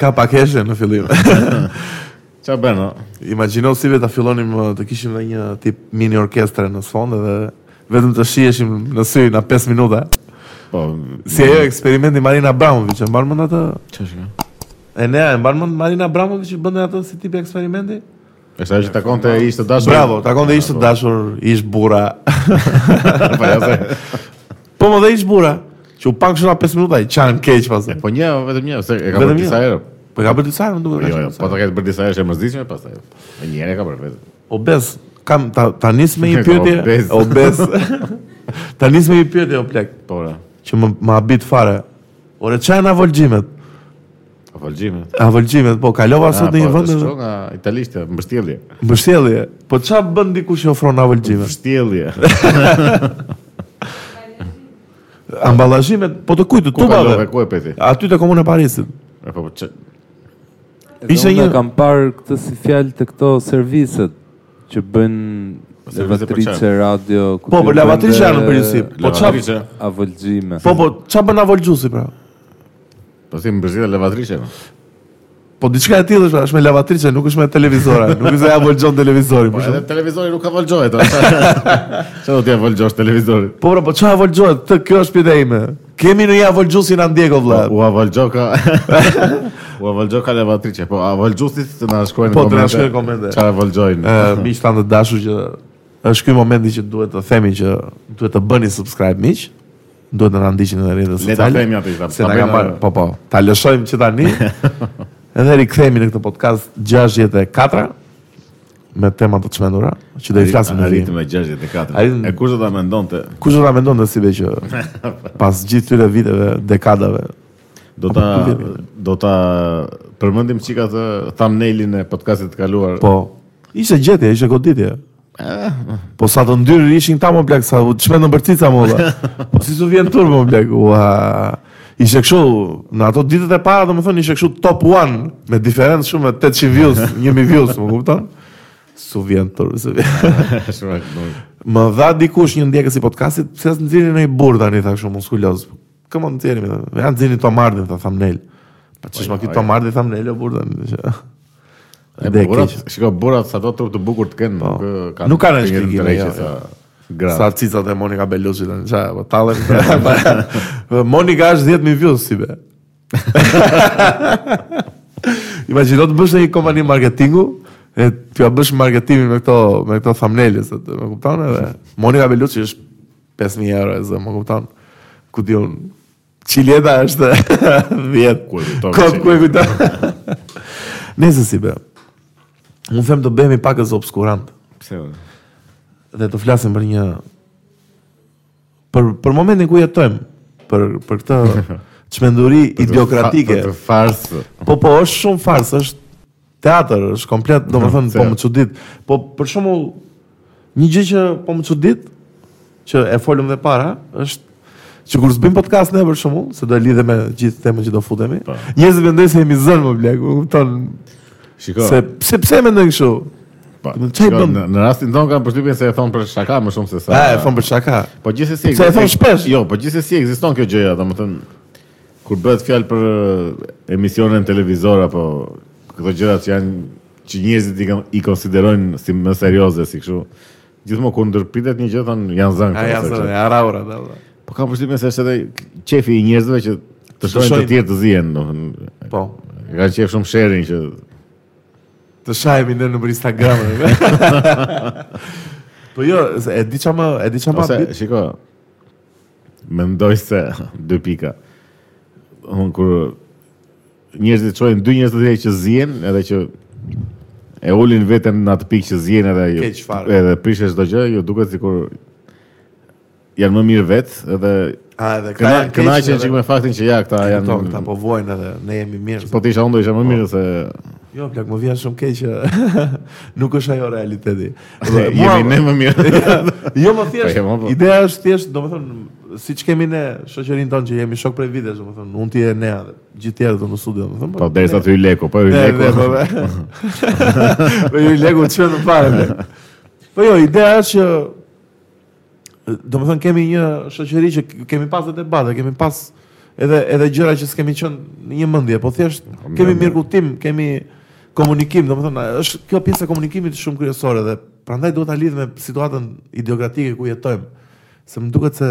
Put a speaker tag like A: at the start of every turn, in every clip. A: Ka pak heshe në fillim.
B: Qa bërë,
A: Imagjino si vetë ta fillonim uh, të kishim dhe një tip mini orkestre në sfond dhe vetëm të shiheshim në sy na 5 minuta.
B: Po,
A: Si ajo eksperimenti Marina Abramovic, e mban mend atë?
B: që është kjo?
A: E ne, e mban mend Marina Abramovic që bënte atë si tip eksperimenti?
B: Është ajo që takon të ishte dashur.
A: Bravo, takon dhe ishte dashur, ish burra.
B: Po, ja se.
A: po më dhe ish burra, që u pankshën na 5 minuta i qanë keq pastaj.
B: Po një, vetëm një, se e ka
A: Vetëm
B: bërë
A: një?
B: disa herë.
A: Po ka bërë disa herë, më duket. ka
B: Jo,
A: qenë
B: jo,
A: disa
B: po
A: herë.
B: ta ketë bërë disa herë që e mërzitshme pastaj. Po një herë e ka bërë vetëm.
A: O bes, kam ta, ta nis me një pyetje.
B: Obez.
A: o bes. ta nis me një pyetje o plek,
B: Po, ora.
A: që më më habit fare. Ore çfarë na volgjimet?
B: Po volgjime.
A: Avolgjimet, po kalova sot në një vend
B: Po, nga italishtë, mbështjellje.
A: mbështjellje. Po ç'a bën dikush që ofron avolgjime?
B: Mbështjellje.
A: Amballazhimet, po të kujt të
B: Ku kalove
A: tubave?
B: ku e peti?
A: Aty te komuna e Parisit.
B: E, Po, po, që-
C: Edhe
A: Ishte
C: unë
A: një-
C: e kam parë këtë si fjalë të këto serviset që bëjnë
B: Servise për
C: lavatrice,
B: çfarë?
C: radio...
A: Po,
C: ku ti
A: po
C: bën
A: lavatriçja
C: dhe
A: në përgjithësi. Po ç'a
B: Lavatrice.
C: Avolgjime.
A: Po po ç'a bën avolgjusi pra?
B: Po si mbërzita lavatrice. no.
A: Po diçka e tillë është, pra, është me lavatriçe, nuk është me televizora, nuk është se avolgjon televizorin.
B: Po
A: për
B: edhe
A: shembull.
B: televizori nuk ka volgjohet. Çfarë do t'ja volgjosh televizorit?
A: Po pra, po ç'a avolgjohet? Të kjo është pyetja ime. Kemi në një avolgjusi na ndjeko vëlla.
B: Po, U avolgjo ka U avolgjo ka lavatrice. Po avolgjusit të na shkruajnë
A: Po, të na shkruajnë komente.
B: Çfarë avolgjojnë?
A: Ë, miq tanë të dashur që është ky momenti që duhet të themi që duhet të bëni subscribe miq. Duhet të na ndiqni në rrjetet
B: Le
A: sociale.
B: ta themi atë, ta-
A: Se
B: ta
A: na
B: bëjmë
A: ka marrë,
B: atë.
A: po po. Ta lëshojmë që tani. Edhe rikthehemi në këtë podcast 64 me tema të çmendura që do i flasim në
B: Arritë
A: rritë.
B: me 64.
A: Arritëm-
B: E kush do ta mendonte?
A: Kush do ta mendonte si be që pas gjithë këtyre viteve, dekadave,
B: Do ta do ta përmendim çik atë thumbnailin e podcastit të kaluar.
A: po ishte gjetje, ishte goditje. Po sa të ndyrë ishin ta më plak, sa u të shmenë në bërtica më dhe. Po si su vjen turbo më plak, ua... Ishte kështu, në ato ditët e para, do më thënë, ishte kështu top 1, me diferencë shumë me 800 views, 1000 views, më kupton? Su vjen turbo, su vjen.
B: Shumë e kënaqur.
A: Më dha dikush një ndjekës i podcastit, pse as nxjerrin në i burr tani tha kështu muskuloz. Këmo nxjerrim, tha. Ja nxjerrin Tomardin tha thumbnail. Pa çish ma ky Tomardi thumbnail o burr tani. që-
B: E
A: Dhe e
B: burat,
A: keq. Po.
B: shiko burat sa do trup të bukur të kenë, nuk e,
A: Nuk kanë
B: të njerën
A: shpjegime,
B: të reqe
A: jo,
B: sa gra.
A: Sa cicat e Monika Bellucci tani, çfarë, po tallem. Monika është 10000 views si be. Imagjino të bësh në një kompani marketingu, e t'ja bësh marketimin me këto me këto thumbnails, atë, më kupton edhe. Monika Bellucci është 5000 euro, e zë, më kupton. Ku diun Çileta është 10.
B: Ku e kujtove
A: Kot ku e
B: Çileta?
A: kujton. Nëse si be. Unë them të bëhemi pakës obskurant
B: Pse? o?
A: dhe të flasim për një për për momentin ku jetojmë, për për këtë çmenduri idiokratike.
B: Fa- Të farsë.
A: Po po, është shumë farsë, është teatër, është komplet, domethënë po më çudit. Po për shembull, një gjë që po më çudit që e folëm dhe para, është që kur s'bëjmë podcast ne për shembull, se do e lidhe me gjithë temën që do futemi.
B: Po.
A: Njerëzit mendojnë se jemi zënë më blek, u kupton?
B: Shiko.
A: Se pse pse mendojnë kështu?
B: Po,
A: Në çaj
B: shiko,
A: bën?
B: në- Në rastin tonë kanë përshtypjen se e thon për shaka më shumë se sa.
A: Ah, e fon për çaka.
B: Po gjithsesi.
A: Se e thon
B: ekzist-
A: shpesh.
B: Jo, po gjithsesi ekziston kjo gjëja, domethënë kur bëhet fjalë për eh, emisione në televizor apo këto gjëra që janë që njerëzit i, kan- i konsiderojnë si më serioze si kështu. Gjithmonë kur ndërpritet një gjë thon janë zënë.
A: Ai
B: këto,
A: ja,
B: se kështu.
A: ja, raura, da. da.
B: Po kam përshtypjen se është edhe qefi i njerëzve që të shohin të
A: shohin.
B: tjerë të zihen, domethënë.
A: Po.
B: Ka qef shumë sharing që
A: Të shajemi në nëmër Instagram. po jo, se e di çfarë më, e di çfarë më
B: Ose,
A: bit.
B: shiko, mendoj se, dy pika, unë kur njerëzit qojnë dy njerëz të tjerë që zihen, edhe që e ulin veten në atë pikë që zihen edhe ju,
A: Keq fare.
B: edhe prishesh çdo gjë, ju duket sikur janë më mirë vetë, edhe
A: A edhe këta
B: këna-
A: janë keq,
B: kënaqen
A: edhe-
B: çik me faktin që ja këta janë
A: Këto këta po vojnë edhe ne jemi mirë.
B: Po të isha unë do isha më mirë se
A: Jo, plak, më vjen shumë keq. që Nuk është ajo realiteti. Dhe
B: jemi ne më mirë.
A: jo, më thjesht.
B: Po, jo, po.
A: Ideja është thjesht, domethënë siç kemi ne shoqërinë tonë që jemi shok prej vitesh, domethënë, unë ti e nea dhe gjithë tjerët do në studio, domethënë.
B: Po derisa
A: ne-
B: të hyj leku, po hyj
A: Ne, ne, po
B: leku.
A: be. Po ju legu të shënë fare. be. Po jo, ideja është që do më thënë kemi një shoqëri që kemi pas dhe debate, kemi pas edhe, edhe gjëra që s'kemi qënë në një mëndje, po thjesht kemi mirë kuptim, kemi komunikim, do më thënë, është kjo pjesë e komunikimit shumë kryesore dhe prandaj duhet ta lidh me situatën ideokratike ku jetojmë, se më duket se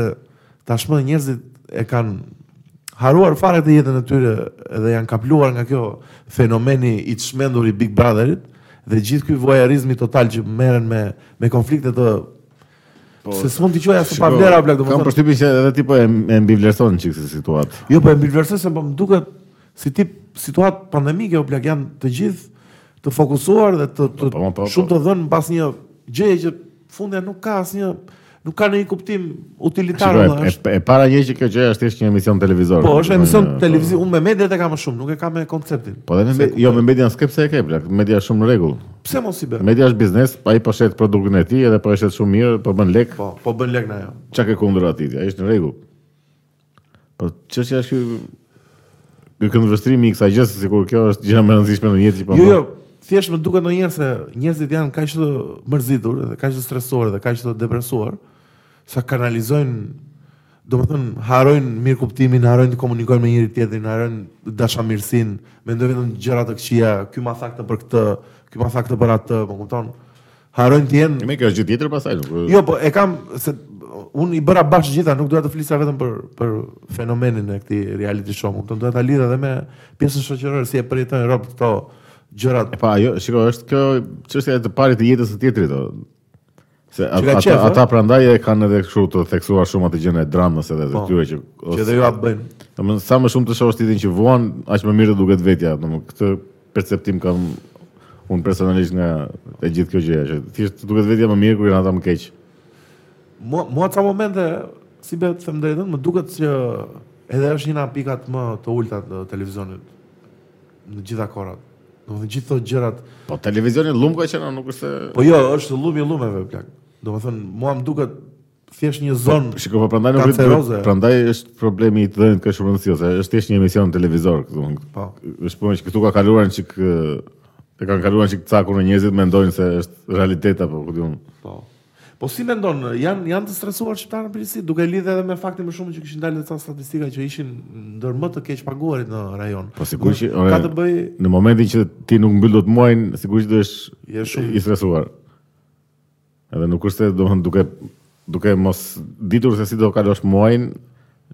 A: tashmë njerëzit e kanë haruar fare të jetën e tyre dhe janë kapluar nga kjo fenomeni i të shmendur i Big Brotherit dhe gjithë ky voyeurizmi total që merren me me konflikte të po, se s'mund t'i quaj as pa vlera blaq
B: Kam
A: domethënë.
B: përshtypjen se edhe ti po e, e mbivlerëson çik si situatë.
A: Jo, po e mbivlerësoj se po më duket si tip situatë pandemike o blaq janë të gjithë të fokusuar dhe të, të
B: Po, po, po, po.
A: shumë të dhënë mbas një gjëje që fundja nuk ka asnjë nuk ka ndonjë kuptim utilitar
B: Shiko,
A: valla,
B: e,
A: është
B: e, e para një që kjo gjë është thjesht një emision televizor.
A: Po, është emision
B: Po,
A: televiziv, unë me mediat e kam më shumë, nuk e kam me konceptin.
B: Po dhe me, me- jo me median skep se e ke, plak, media është shumë në rregull.
A: Pse mos i bëjmë?
B: Media është biznes, pa i po shet produktin e tij edhe po e shet shumë mirë, po bën lek,
A: Po, po bën lek na ajo.
B: çka ke kundër atij, ai është në rregull. Po çështja është ky ky këndvështrimi i kësaj gjë, se sikur kjo është gjëra më e rëndësishme në jetë që po.
A: Jo,
B: bën.
A: jo, thjesht më duket ndonjëherë se njerëzit janë kaq të mërzitur dhe kaq të stresuar dhe kaq të depresuar sa kanalizojnë domethënë harojnë mirë kuptimin, harojnë të komunikojnë me njëri tjetrin, harojnë dashamirësinë, mendojnë vetëm gjëra të këqija, ky ma tha këtë për këtë, ky ma tha këtë për atë, më kupton? Harojnë të jenë
B: Me kjo është gjë tjetër pasaj, nuk. Jo,
A: Jo, po e kam se unë i bëra bash gjitha, nuk doja të flisja vetëm për për fenomenin e këtij reality show, më kupton? Doja ta lidha edhe me pjesën shoqërore si e përjetojnë rob këto gjërat.
B: pa, jo, shiko, është kjo çështja e të parit të jetës së tjetrit, do. Se at,
A: ka
B: ata,
A: qef,
B: ata prandaj e kanë edhe kështu të theksuar shumë atë gjën e dramës edhe të
A: Po,
B: tyre që
A: Që edhe ju atë bëjnë.
B: Domthon sa më shumë të shohësh titin që vuan, aq më mirë të duket vetja. Domthon këtë perceptim kam unë personalisht nga e gjithë kjo gjëja që thjesht të duket vetja më mirë kur janë ata më keq.
A: Mua mua ca momente si be të them drejtën, më duket që edhe është një nga pikat më të ulta të televizionit në gjitha korat. Domethënë gjithë këto gjërat
B: Po televizioni llum ka qenë, nuk është se
A: Po jo, është lumi i lumeve plak. Domethënë mua më duket thjesht një zonë
B: Shiko, po prandaj nuk
A: Kanceroze.
B: prandaj është problemi i të dhënit ka shumë rëndësi ose është thjesht një emision në televizor, domthon.
A: Po.
B: Është po që këtu ka kaluar një çik e kanë kaluar një çik cakur në njerëzit mendojnë se është realitet apo ku diun.
A: Po. Po si mendon, janë janë të stresuar shqiptarët në përgjithësi, duke lidhë edhe me faktin më shumë që kishin dalë disa statistika që ishin ndër më të keq paguarit në rajon.
B: Po sigurisht që-
A: ka të bëj
B: në momentin që ti nuk mbyll dot muajin, sigurisht do jesh
A: Je shumë-
B: i stresuar. Edhe nuk është se domthon duke duke mos ditur se si do kalosh muajin,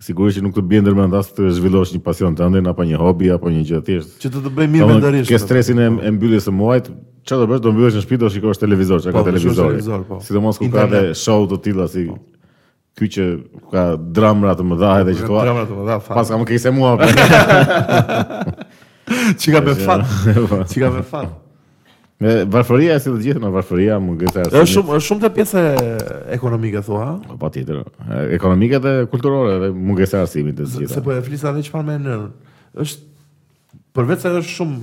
B: sigurisht që nuk të bie ndërmend as të zhvillosh një pasion tënde apo një hobi apo një gjë thjesht.
A: që të të bëj mirë po. mendërisht.
B: Ke stresin e, e mbylljes së muajit, çfarë do bësh? Do mbyllesh në shtëpi, do shikosh televizor, çka
A: Po,
B: ka
A: do shikosh
B: televizori.
A: televizor, po.
B: Sidomos ku ka
A: Internet. Po.
B: dhe show të tilla si ky që ka dramra të mëdha edhe që thua.
A: Drama të më dha
B: Pas
A: fat.
B: kam kese mua. po."
A: Çika me fat. Çika me fat.
B: Me varfëria e si të gjithë, në varfëria mungesa e
A: Është
B: arsimit.
A: shumë është shumë të pjesë ekonomike thua, ha?
B: Po tjetër, ekonomike dhe kulturore dhe mungesa e arsimit të
A: se
B: gjitha.
A: po e flisa edhe çfarë me nën. Është përveç se është shumë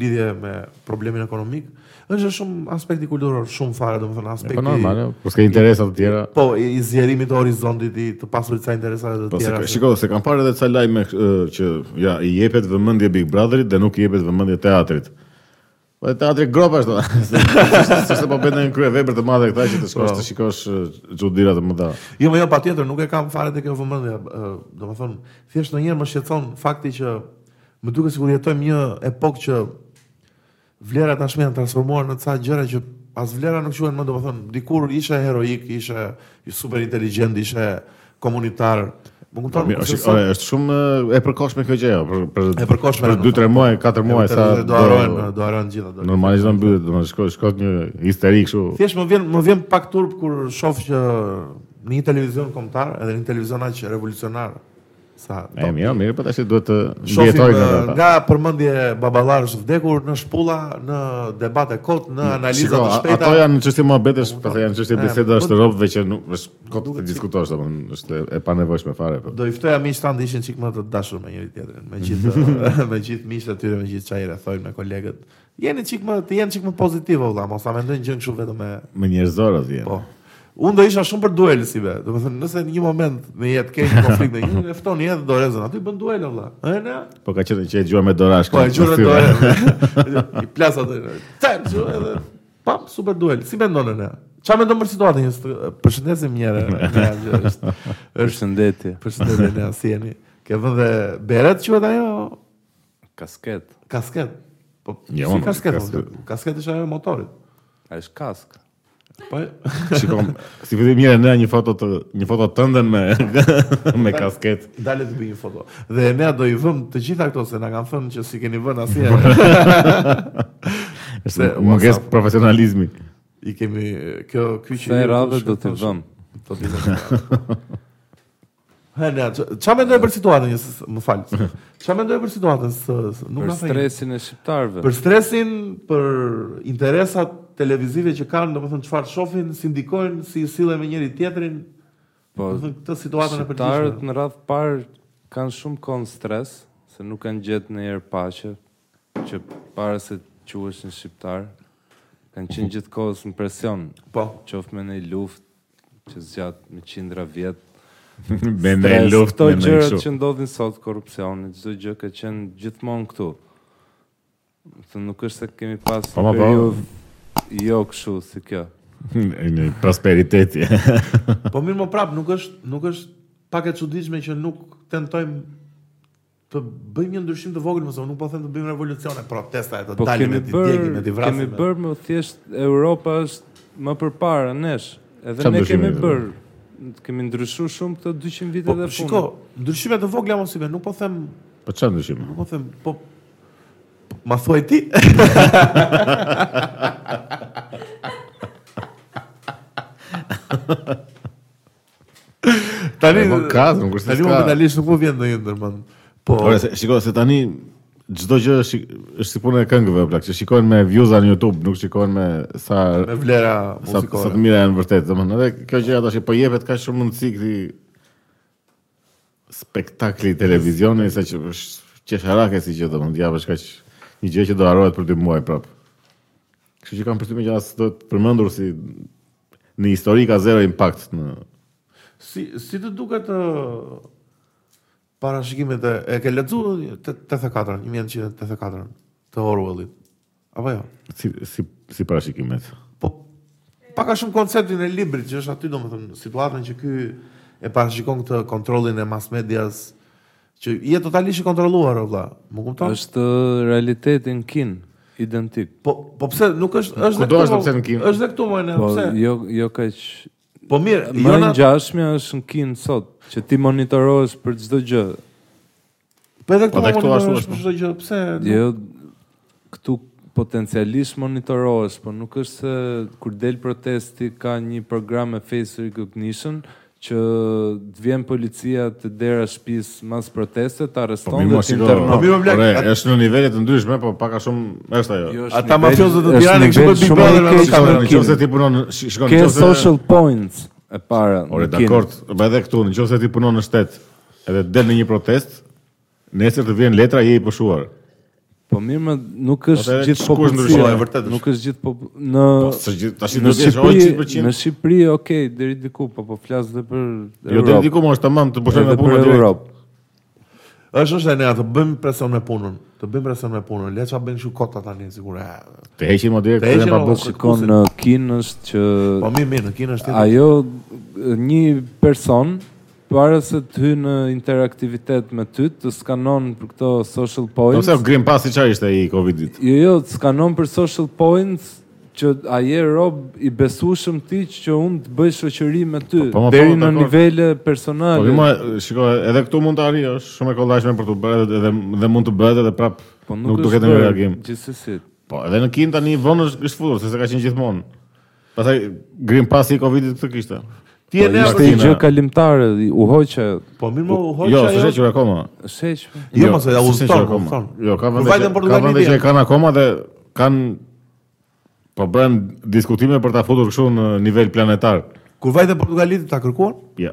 A: lidhje me problemin ekonomik, është edhe shumë aspekti kulturor, shumë fare, domethënë
B: Po
A: aspekti
B: normal, jo, po s'ka interesa të tjera.
A: Po, i i zjerimit të horizontit, i të pasur disa interesave të
B: Po se
A: tjera.
B: shiko, se kam parë edhe ca lajme ë, që ja i jepet vëmendje Big Brotherit dhe nuk i jepet vëmendje teatrit. Po e teatri gropa ashtu. Sepse po bën një krye vepër të madhe këta që të
A: Po.
B: shkosh të shikosh ë, çuditëra të mëdha.
A: Jo, më jo, pa tjetër, nuk e kam fare të kjo vëmëndja. Do më thonë, thjesht në njerë më shqetson fakti që më duke sigur jetojmë një epok që vlera tashme janë transformuar në ca gjëra që as vlera nuk quen më, do më thonë, dikur ishe heroik, ishe super inteligent, ishe komunitar. Më
B: Po
A: kupton?
B: mirë,
A: ose
B: është,
A: sot-
B: ore, është shumë ë, e përkohshme kjo gjë, jo, për për
A: E përkohshme, po.
B: për
A: nuk
B: 2-3 muaj, 4 muaj sa
A: do harojnë, po. do harojnë gjitha. do-
B: Normalisht do mbyllet, do të shkoj shkoj një histeri kështu.
A: Thjesht më vjen më vjen pak turp kur shoh që në një televizion kombëtar edhe në një televizion aq revolucionar sa
B: E mirë, mirë, po tash duhet të
A: shohim
B: mbijetoj nga
A: uh,
B: ata.
A: nga përmendje baballarësh të vdekur në shpulla, në debate kot, në analiza
B: Hmm, Shiko,
A: të shpejta.
B: Ato janë çështje muhabetesh, pastaj janë çështje
A: E,
B: biseda
A: po-
B: shtëropëve që nuk është kot të diskutosh, domethënë është e- e panevojshme fare. Po.
A: Do i ftoja miq tan të ishin çik më të dashur me njëri tjetrin, me gjithë eh, me gjithë miqtë atyre, me gjithë çajra thojnë me kolegët. Jeni çik më të jenë çik më pozitiv valla, mos ta mendojnë gjën kështu vetëm me
B: Me njerëzor atje.
A: po. Unë do isha shumë për duel si be. Do të thënë, nëse në një moment në jetë ke një konflikt në një, e fton një jetë dorezën, aty bën duel valla. E na,
B: Po ka qenë që e gjua me dorash.
A: po e
B: këtë
A: gjurë
B: fyra.
A: dorezën. I plas atë. Tan, ju edhe pam super duel. Si mendon ne? Çfarë mendon për situatën? Ju st- Përshëndesim një herë. Nea, që Është është
C: Përshëndetje.
A: përshëndetje ne si jeni. Ke vënë dhe beret quhet ajo
C: Kasket.
A: kasket. Po
B: Jo,
A: si
B: mo,
A: kasket.
B: kasket.
A: mo, Kasket është ajo e motorit.
C: A është kask?
A: Po
B: Shikom, si fillim mirë ne një foto të një foto tënde me me kasket.
A: Dale të bëj një foto. Dhe ne do i vëm të gjitha këto se na kanë thënë që si keni vënë asnjëherë.
B: Është mungesë profesionalizmi.
A: I kemi kjo ky që
C: Sa e radhe do t'i vëm.
A: Do t'i vëm. Ha, ne, ç'a mendoj për situatën, jës- më fal. Ç'a mendoj për situatën? së- së- Nuk
C: Për
A: na thënë.
C: stresin e shqiptarëve.
A: Për stresin, për interesat televizive që kanë, domethënë çfarë shohin, si ndikojnë, si sillen me njëri tjetrin,
C: Po,
A: domethënë këtë situatën e
C: shqiptarët
A: përgjithshme.
C: në radhë parë kanë shumë konë stres, se nuk kanë gjetë në erë pashe, që para se të quheshin shqiptar, kanë qenë gjithë kohës në presion,
A: Po.
C: qoftë me në luftë, që zgjatë me qindra vjetë,
B: Me në
C: Stres,
B: luftë
C: këto
B: me në
C: gjërat
B: kështu.
C: që ndodhin sot korrupsioni, çdo gjë ka qenë gjithmonë këtu. Të nuk është se kemi pas
B: Po, po, po.
C: periudhë jo kështu si kjo.
B: Në prosperiteti.
A: Po mirë më prap, nuk është nuk është pak e çuditshme që nuk tentojmë të bëjmë një ndryshim të vogël, mëse nuk po them të bëjmë revolucione, protesta e të
C: Po
A: dalim
C: kemi
A: me të
C: bër,
A: djegim me të vrasim.
C: kemi bër më thjesht Europa është më përpara nesh. Edhe
B: Qa
C: ne
B: ndryshimi
C: kemi
B: kemi
C: bër. Kemi ndryshuar shumë këto 200 vite
A: Po
C: dhe punë.
A: shiko, ndryshime të vogla mos i bën, nuk po them,
B: Po çfarë ndryshim?
A: nuk po them, po Ma thuaj ti? Tani
B: Po ka, nuk është se
A: Tani
B: s'ka.
A: më penalisht nuk më vjen ndonjë ndërmend. Po,
B: Ora, se, shiko, se tani çdo gjë është është si puna e këngëve plak, që shikojnë me views në YouTube, nuk shikojnë me sa
A: me vlera
B: sa,
A: muzikore.
B: sa të mira janë vërtet, domethënë edhe kjo gjë tash po jepet kaq shumë mundësi këtij spektakli televizioni sa që është qesharake si gjë domethënë japësh kaq një gjë që do harohet për dy muaj prap. Kështu që kam përshtypjen që as do të përmendur si në histori ka zero impact në
A: Si si të duket ë parashikimet e, e ke lexuar 84 1984 të Orwellit. Apo jo?
B: si si si parashikimet.
A: Po pak a shumë konceptin e librit që është aty domethënë situatën që ky e parashikon këtë kontrollin e mass medias që je totalisht i kontrolluar o vlla. Më kupton?
C: Është realiteti në Kin, identik.
A: Po po pse nuk është është
B: Kudo
A: dhe
B: është,
A: mo-
B: pse në Kinë?
A: Është dhe këtu më ne,
C: Po
A: pse?
C: jo jo kaq
A: Po mirë,
C: Më
A: Jona,
C: në gjashmja është në Kin sot, që ti monitorohesh për çdo gjë.
A: po edhe këtu
B: Po,
A: më
B: dhe këtu ashtu
A: monitorosh
B: është,
A: për çdo gjë, pse? nuk-
C: Jo këtu potencialisht monitorohesh, po nuk është se kur del protesti ka një program e face recognition që të vjen policia të dera shtëpis mas proteste, të
B: Po
C: arreston
B: mirë
C: dhe
B: mos
C: të
B: shiko.
A: Po
C: internon.
A: mirë, më blaq,
B: Ore,
A: atë-
B: është në nivele të ndryshme, po pak a shumë është ajo.
C: Jo, është
A: Ata
C: nivel-
A: mafiozët e
C: është
A: Tiranës kështu
C: nivel
A: për Big
C: shumë
A: Brother,
C: i
A: apo
C: keq
A: si
C: në
B: Shikon, në
C: Kinë.
B: qoftë se ti punon, shi- shikon
C: Ke
B: në qoftë se-
C: social points e para.
B: Ore,
C: në Kinë.
B: dakord, po edhe këtu, në qoftë se ti punon në shtet, edhe del në një protest, nesër të vjen letra, je i pushuar.
C: Po mirë, më nuk është
B: Atëherë,
C: gjithë
B: kush ndryshon?
C: popullsia.
B: Po, e vërtet është.
C: Nuk është gjithë popull në
B: Po, së gjithë, tash i
C: në
B: do të shoh
C: Shqipëri,
B: 100%.
C: në Shqipëri, okay, deri diku, po po flas edhe për
B: Jo deri
C: Europë,
B: diku po, më është tamam të pushon me
C: edhe për
B: punën direkt.
C: Europë.
A: Është është e nea, të bëjmë presion me punën. Të bëjmë presion me punën. Le çfarë bëjnë kështu kota tani sigur. e,
B: Të heqin më direkt,
A: Të
B: të
A: heqin,
B: heqin pa
A: o,
B: bukë.
C: Shikon në Kinë është që
A: Po mirë, mirë, në Kinë është tjetër.
C: ajo një person para se të hyjë në interaktivitet me ty, të skanon për këto social points.
B: Ose Green Pass i çfarë ishte ai i Covidit?
C: Jo, jo, të skanon për social points që a je rob i besueshëm ti që unë të bëj shoqëri me ty
B: Po, po, po,
C: deri në
B: dakord.
C: nivele
B: Po
C: personale.
B: më shiko, edhe këtu mund të arri, është shumë e kollajshme për të bërë edhe- edhe dhe mund të bëhet edhe prap nuk duket
C: Po, bërë
B: ndonjë reagim.
C: Gjithsesi.
B: Po, edhe në Kin tani vonë është është futur, sepse ka qenë gjithmonë. Pastaj Green Passi i Covidit këtë kishte.
A: Ti e
B: Po,
A: nea,
B: ishte
A: po ti-
C: Është një gjë kalimtare, u hoqë,
A: Po mirë, më u hoqa
B: Jo,
A: ajo.
B: s'është që akoma.
C: sheq.
A: Jo, mos e
B: s'është që
A: udhëton,
B: akoma.
A: udhëton.
B: Jo, ka vende
A: vajtën
B: që- ka
A: Portugali
B: vende
A: vjen.
B: që e kanë akoma dhe kanë po bën diskutime për ta futur kështu në nivel planetar.
A: Kur vajte Portugalit ta kërkuan?
B: Jo.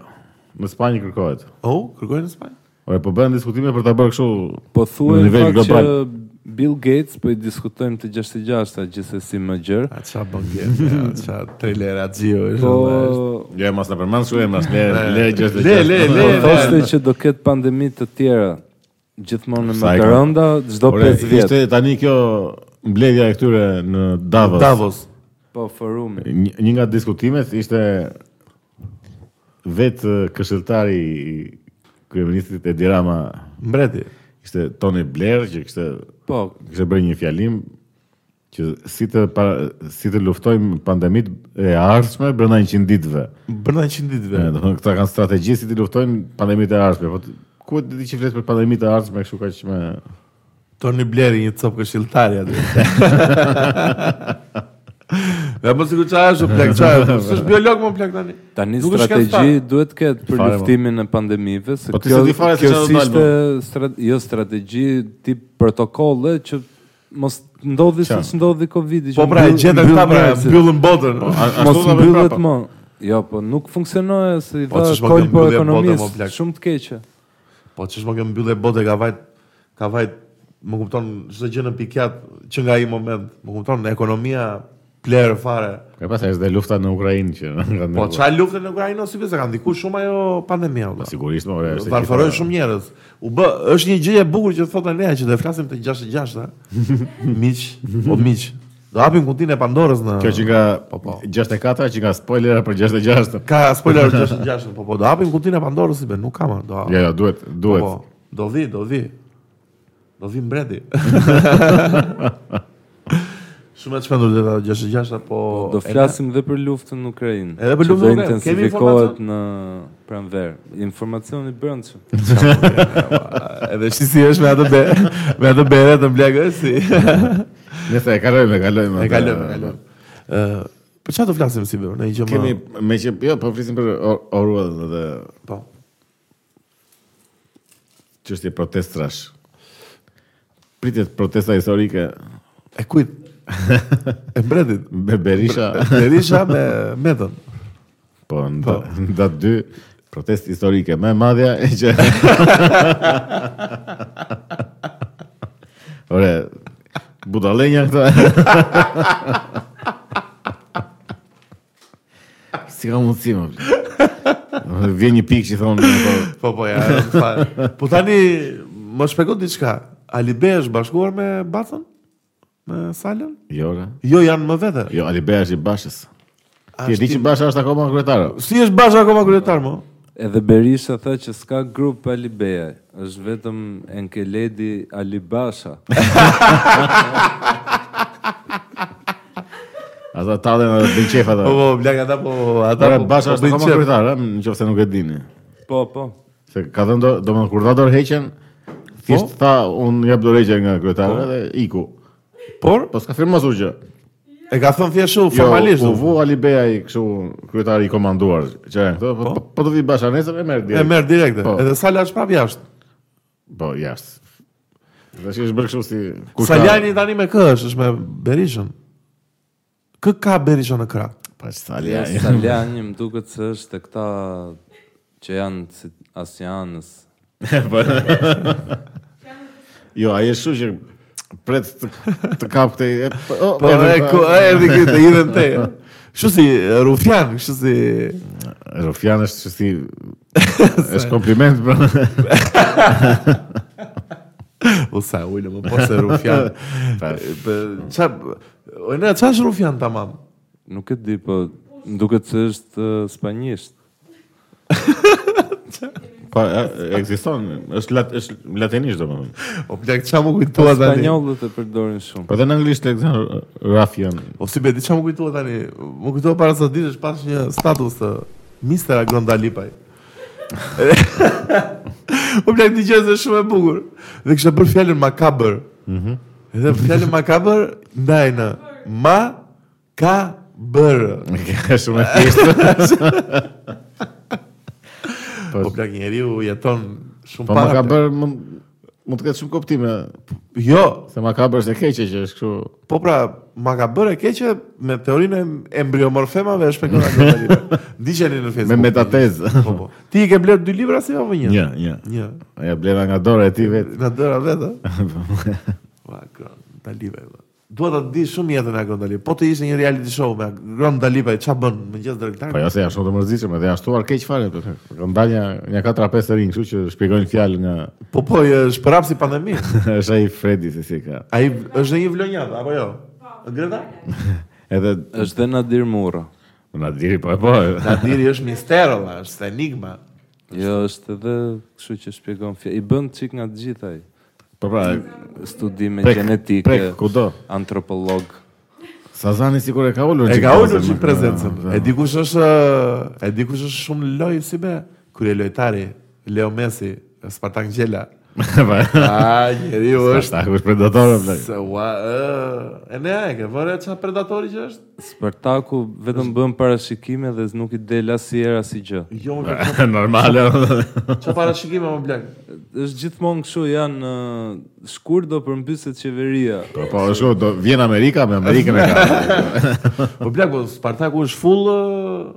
B: Në Spanjë kërkohet.
A: Oh, kërkojnë në Spanjë.
B: Ore, po bën diskutime për ta bërë kështu
C: Po thuaj
B: Në
C: në
B: nivel
C: fakt
B: global.
C: që Bill Gates, po i diskutojmë të 66-ta gjithsesi më gjër.
A: A qa bëngjet, a qa trailer a gjio,
C: Po
B: Jo, mos na përmend shumë, mos le le gjështë.
A: Le, le, le,
C: po thoshte që do ketë pandemi të tjera gjithmonë në
B: Sa e ka?
C: rënda, çdo 5 vjet.
B: Ishte tani kjo mbledhja e këtyre në Davos.
A: Davos.
C: Po forumi.
B: Një një nga diskutimet ishte vetë këshilltari i kryeministrit Edi Rama
A: Mbreti.
B: ishte Tony Blair që kishte
C: Po,
B: kishte bërë një fjalim që si të para, si të luftojmë pandemit e ardhshme brenda 100 ditëve.
A: Bërna 100 ditëve.
B: Do të thonë këta kanë strategji si të luftojnë pandemitë e ardhshme, po t- ku e di që flet për pandemitë e ardhshme kështu kaq me
A: Toni Bleri një copë këshilltari atë. Dhe mos i kuqa është, plak çfarë? S'është biolog më plak tani.
C: tani
A: Nuk është
C: strategji duhet ketë për
B: Fare, mo.
C: luftimin e pandemive, se
B: Po ti se di fare se
C: kjo
B: çfarë do
C: s'ishte
B: dalë,
C: stra- jo strategji tip protokolle që mos ndodhi
B: Qa?
C: siç ndodhi Covidi. që
A: Po pra, e
C: mbyll-
A: gjeta këta pra,
C: mbyll njerëzit.
A: mbyllën botën.
B: A- ashtu
C: Mos
B: ta bëjmë
C: mbyllet
B: prapa?
C: më. Jo, po nuk funksionoja se i
A: Po,
C: dha
A: që s'ma
C: kol
A: ke
C: po
A: mbyllje bote, mo,
C: ekonomisë,
A: plak.
C: shumë të keqe.
A: Po që shmo kemë mbyllë e botë, ka vajt, ka vajt, më kupton, çdo gjë në pikjat që nga i moment, më kupton, ekonomia plerë fare.
B: Ka pas është dhe lufta në Ukrainë që kanë
A: Po
B: ndërtuar.
A: çaj luftën në Ukrainë ose pse kanë ndiku shumë ajo pandemia. vëlla.
B: sigurisht më ore. është e
A: Varfërojnë
B: gjitha-
A: shumë njerëz. U bë, është një gjë e bukur që thotë Lea që do e flasim të 66-ta. miq, po miq. Do hapim kutinë e Pandorës në
B: Kjo që nga
A: Po, po.
B: 64 që nga spoilera për 66.
A: ka spoiler 66, po po do hapim kutinë e Pandorës si be, nuk kam, do.
B: Jo, jo, duhet,
A: po,
B: duhet.
A: po, do vi, do vi. Do vi mbreti. Shumë e të shpendur dhe 66-ta, po...
C: Do flasim dhe për luftën në Ukrainë.
A: Edhe për
C: që
A: luftën
C: do
A: në Ukrainë. Kemi
C: intensifikohet në pranverë. Informacioni brendshëm.
A: Edhe shi si është me atë be, me atë bere të mblekë, si...
B: Nëse e kalojmë, e kalojmë.
A: E
B: atë.
A: kalojmë, e kalojmë. Ë, për çfarë do flasim si be? Ne i gjë më...
B: Kemi me që jo, po flisim për or- Orwell dhe
A: Po.
B: çështje protestash. Pritet protesta historike
A: E kujt? e mbretit.
B: me Berisha,
A: Berisha me metën.
B: po në da- në datë 2 protest historike më e madhja e që Ore, budallenja këta. si ka mundësi më? Vjen një pikë që thonë, po,
A: Po, po, ja. fa- po tani, më shpjegon diçka. Ali Bey është bashkuar me Bacën? Me Salën?
B: Jo, ora.
A: Jo, janë më vete.
B: Jo, Ali Bea është i bashës. Ti e
A: Ashtë
B: di që basha është akoma kryetare.
A: Si është bashkë akoma kryetar, mo?
C: Edhe Berisha tha që s'ka grup Ali Beja, është vetëm Enkeledi Ali Basha.
B: Ata tallen edhe bin qef ata.
A: Po, po, blak, ata po... Ata
B: Ora
A: po,
B: basha
A: po
B: është
A: bëjnë
B: akoma
A: qef.
B: kryetare, nëse nuk e dini.
C: Po, po.
B: Se ka dhënë do, domethënë kur dha dorëheqjen, thjesht
A: Po.
B: tha un jap dorëheqjen nga kryetari dhe iku.
A: Por,
B: Po s'ka firmë asur gjë.
A: e ka thënë thjeshu,
B: Jo,
A: formalisht.
B: u
A: u.
B: vu Ali Bea i kështu kryetari i komanduar. Që janë këto, po, po, po do vi basha nesër e merr
A: E
B: direkt.
A: merë direkte.
B: Po.
A: Edhe Sala është prapë jashtë.
B: Po, jashtë. Dhe që është bërë kështu si kush ka-
A: Saljani tani me kë është, është me Berishën. Kë ka Berisha në krah?
B: Pa
C: Ja,
B: Saljani.
C: Saljani më duket se është të këta që janë si asianës.
B: Po. Jo, ai është kështu që pret të, të kap këtë. e, Po, o,
A: Po
B: edhe
A: e
B: pra-
A: ku e erdhi këtu të hidhen te. Kështu si e, Rufian, kështu si
B: Rufian është që si... është kompliment, bro.
A: u sa ulë më pas se Rufian. Po ça o ne ça është Rufian tamam.
C: Nuk e di, po më duket se është eh, spanjisht.
B: Pa, e- ekziston, është, lat, është latinisht, do më thënë.
A: O plak ça më
C: Po,
A: kujtua tani.
C: Spanjollët e përdorin shumë.
B: Po dhe në anglisht e këzën Rafian.
A: Po si bëti ça më kujtua tani. Më kujtua para sa ditësh pas një status të Mister Agron Dalipaj. O plak ti gjë është shumë e bukur. Dhe kisha bërë fjalën makabër. Mhm. Edhe fjalën makabër ndaj në ma ka bërë.
B: Ka shumë e thjeshtë.
A: Po plak njeriu jeton shumë
B: Po ma
A: para.
B: ka
A: plak.
B: bërë, mund, mund të ketë shumë koptime.
A: Jo,
B: Se ma ka bërë se keqe që është kështu...
A: po pra, ma ka bërë e keqe me teorinë e embryomorfemave e shpekullave globale. Ndiqeni në
B: Me
A: Facebook.
B: metatezë.
A: Po po. Ti i ke bler dy libra si apo një?
B: Një, një.
A: Një.
B: Ja bleva nga dora e ti vetë.
A: Nga dëra vetë. ë? valla, Agron Dalipa. valla. Dua ta di shumë jetën e Agron Dalipa. Po të ishte një reality show me Agron Dalipa, ç'a bën? Mëngjes drektar.
B: Po jo se janë shumë të mërzitshëm edhe janë shtuar keq fare. po. Kanë dalë një- një 4-5 rinj, kështu që shpjegojnë fjalë nga
A: Po po, e shpërap si pandemi.
B: është ai Fredi se si ka.
A: Ai është në një vlonjat apo jo? Greta?
B: Edhe
C: është dhe Nadir Murra.
B: na diri po e po.
A: Nadiri është mister valla, është enigma.
C: Jo, është edhe kështu që shpjegon fjalë. I bën çik nga të gjitha ai.
B: Po pra,
C: Studime
B: Prek,
C: gjenetike,
B: prek, kudo.
C: antropolog.
B: Sazani sikur e ka ulur.
A: E
B: çik
A: ka ulur
B: prezencën,
A: çik prezencën.
B: po, po.
A: E dikush është e dikush është shumë loj si be. Kur e lojtari Leo Messi, Spartak Gjela. A, njeriu është
B: Ta kush predatorë bla.
A: se ua, ë, e ne e ke vërë çfarë predatori që është?
C: Spartaku vetëm bën parashikime dhe nuk i del asnjëherë asnjë gjë.
A: Jo, më ke
B: Normale. Po,
A: çfarë parashikime më blek.
C: Është gjithmonë kështu janë ë, shkurt do përmbyset qeveria.
B: Po po, është do vjen Amerika me Amerikën e ka.
A: Po blek, po Spartaku është full ë,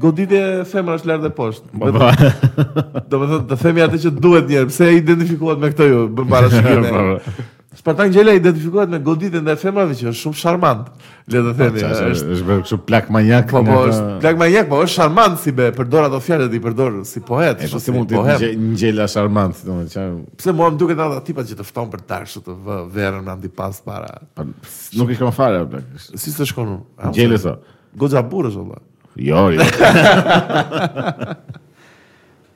A: goditje femrash lart dhe poshtë.
B: Po po.
A: Do me thënë, të themi atë që duhet njerë, pse identifikohet me këto ju, bën
B: Po,
A: parashikime.
B: po.
A: Spartak Gjela identifikohet me goditën dhe femrave që është shumë sharmant, le të themi.
B: Qa, Është
A: është,
B: është bërë kështu plak manjak.
A: po, po,
B: nga-
A: është plak manjak, po është sharmant si be, përdor ato fjalët i përdor si poet,
B: E po
A: kështu
B: si mund të jetë një gje- një gjela sharmant, domethënë çfarë
A: Pse mua më duket ata tipat që të fton për tash të vë verën antipas para.
B: pa- nuk i kam fare bla.
A: Si të shkon unë?
B: Gjele sa.
A: Goxha burrës valla.
B: Jo, jo.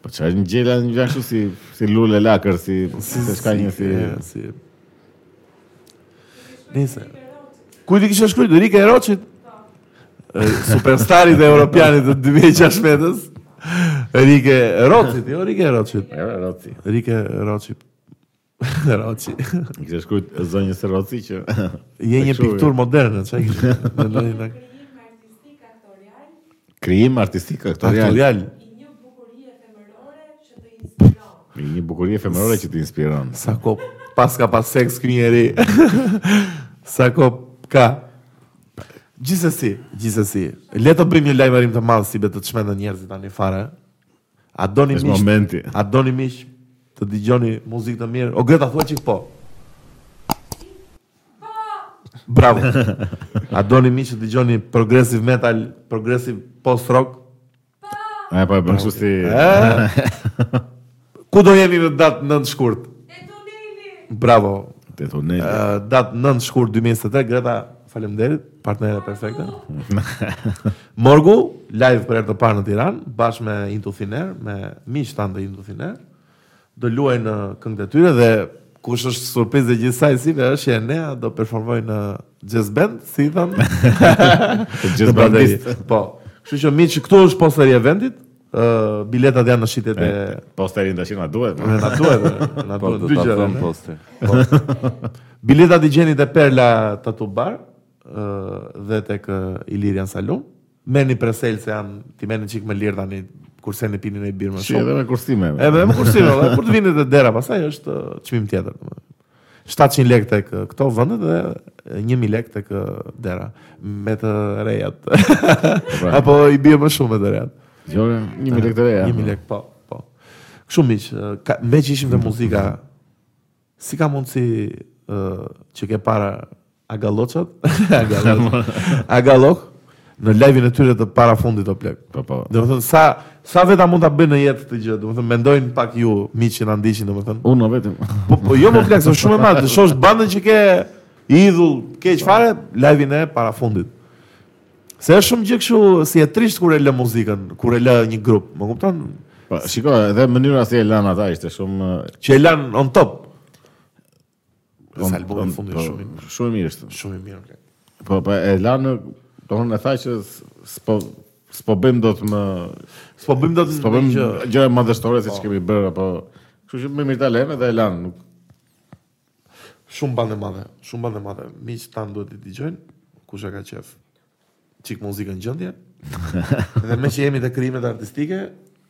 B: po çfarë një gjela një gjë kështu si si lule lakër, si se s'ka një si
A: e, si. Nice. Kujt i kisha shkruar Rika Eroçit?
B: Po.
A: Superstarit e europianit të 2016-s. Rike Erocit, jo Rike Erocit.
B: Jo, Roci.
A: Rike Eroçi. Eroçi.
B: I kështë shkruajt zonjës e Roci që...
A: Je një
B: Tek shuvi.
A: piktur moderne, çaj kishe. Në lojë në
D: Krijim artistik aktorial
B: Krijim artistik aktorial.
A: aktorial.
D: i një bukurie femërore që të inspiron.
B: Me një bukurie efemerore që të inspiron.
A: Sa ko pas ka pas seks ky njeri. Sa ko ka. Gjithsesi, gjithsesi. Le të bëjmë një lajmërim të madh si be të çmendën njerëzit tani fare. A doni
B: Është
A: miq?
B: momenti.
A: A doni miq të dëgjoni muzikë të mirë? O Greta thua çik po. Bravo. A doni miq të dëgjoni progressive metal, progressive post rock?
B: A e pa e bën kështu si... Eh?
A: Ku do jemi në datë 9 shkurt?
D: E tuneli!
A: Bravo.
B: Te tuneli.
A: Ë, datë 9 shkurt 2023, Greta, faleminderit, partnere perfekte. Morgu, live për herë të parë në Tiranë, bashkë me Into Thin Air, me miq tanë të Into Thin Air. Do luajnë në këngët e tyre dhe kush është surprizë e gjithsaj si ve është që Enea do performojë në jazz band, si i thon.
B: Gjithë bandist.
A: po. Kështu që miq, këtu është posteri e vendit. ë biletat janë në
B: Eh,
A: shitjet e
B: Posterin të shima duhet. po.
A: e na duhet, e, na
C: Po
A: duhet
C: do
A: dy
C: ta
A: gjëra,
C: them
A: ne?
C: poster.
A: Biletat i gjeni te Perla Tattoo Bar ë, dhe tek ë, Ilirian Salon. Merrni presel se janë ti merrni çik më lirë tani kurse ne pinin e birë më
B: Si edhe
A: shumë. Eh,
B: me kursime.
A: E më më kursime, valla, kur të vini te dera pastaj është ë, çmim tjetër, domethënë. 700 lek tek ë, këto vende dhe ë, 1000 lek tek ë, dera me të rejat. Apo i bie më shumë me të rejat.
B: Gjore, një milek të reja.
A: 1000 lek, po, po. Kështu miq, ë, ka- me që ishim te muzika, si ka mundësi ë, që ke para agalloçat, agalloq, agalloq në live-in e tyre të para fundit o plek.
B: Po, po.
A: Do të thënë sa sa veta mund ta bëjnë në jetë këtë gjë, do të thënë mendojnë pak ju miq që na ndiqin, do të thënë.
B: Unë në vetëm.
A: Po, po jo më plak, është shumë e madhe, të shohësh bandën që ke idhull, keq fare, live-in e para fundit. Se është shumë gjë kështu si e trisht kur e lë muzikën, kur e lë një grup, më kupton?
B: Po, shiko, edhe mënyra si e lanë ata ishte shumë... eh,
A: Që e lanë on top. Sa albumi
B: on-
A: në fundi
B: po,
A: është shumë i mirë,
B: Shumë i mirë ishte.
A: shumë i mirë. plak.
B: Po, po, e lanë, do në e thaj që s- s'po... S'po bëjmë do të më...
A: S'po bëjmë dot
B: S'po bëjmë gjëra Po, madhështore si që Po. kemi bërë, apo... Kështu që më mirë ta lejmë dhe e lanë. Nuk...
A: shumë bande madhe, shumë bande madhe. Miq tan duhet të dëgjojnë, kush e ka qef. Çik muzikën në gjendje. dhe me që jemi te krimet artistike,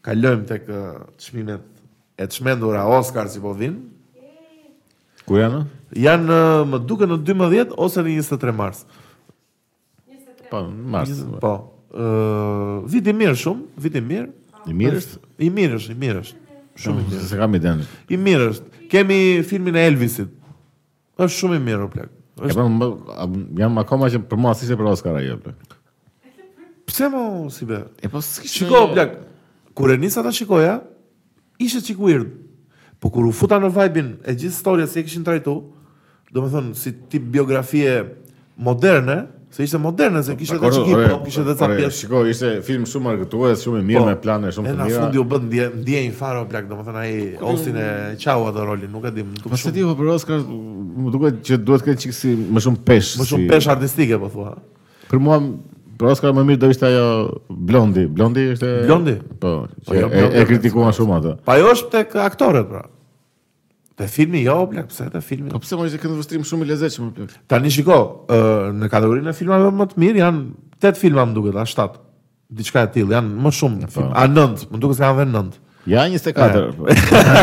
A: kalojmë tek ë, çmimet e çmendura Oscar si po vinë.
B: Kur janë?
A: Janë ë, më duket në 12 ose në 23 mars.
B: Po, në mars.
A: Po. Ë, vit i mirë shumë, vit i mirë.
B: I mirë Po, është?
A: I mirë është, i mirë është.
B: Shumë i mirë. Se kam i denë.
A: I mirë është. Kemi filmin e Elvisit. është shumë i mirë o plak.
B: E
A: Është
B: pra, më, a, jam akoma që për mua si se për Oscar ajo. plak.
A: pse mo si be?
B: E po s'kishte...
A: Shiko o plak, kur e nisa ta shikoja, ishte çik weird. Po kur u futa në vibe-in e gjithë historia si e kishin trajtu, domethënë si tip biografie moderne, se ishte moderne, se kishte edhe
B: Dakor,
A: çik
B: ore,
A: hip hop, kishte edhe ca
B: ore,
A: pjesë
B: Shiko, ishte film shumë argëtues, shumë i mirë,
A: Po.
B: me plane shumë
A: E
B: të
A: na
B: mira.
A: fundi u bën ndje ndje një fare o plak, domethënë ai Austin e Chau atë rolin, nuk e di, më
B: Po
A: duket
B: se
A: shumë.
B: ti po për Oscar, më duket që duhet këtë çik si më shumë pesh.
A: Më shumë
B: si-
A: pesh artistike po thua.
B: Për mua për Oscar më mirë do ishte ajo Blondi. Blondi ishte
A: Blondi?
B: Po.
A: Po,
B: që
A: jo,
B: e,
A: Blondi
B: e
A: është
B: kritikuan shumë atë.
A: Pa ajo është tek aktorët pra. Te filmi jo, o plak, pse te filmi?
B: Po pse më ishte këndë vështrim shumë i lezetshëm plot.
A: Tani shiko, ë, në kategorinë e filmave më të mirë janë 8 filma më duket, a 7. Diçka e tillë, janë më shumë film, a 9, më duket se kanë vënë 9.
B: Ja 24.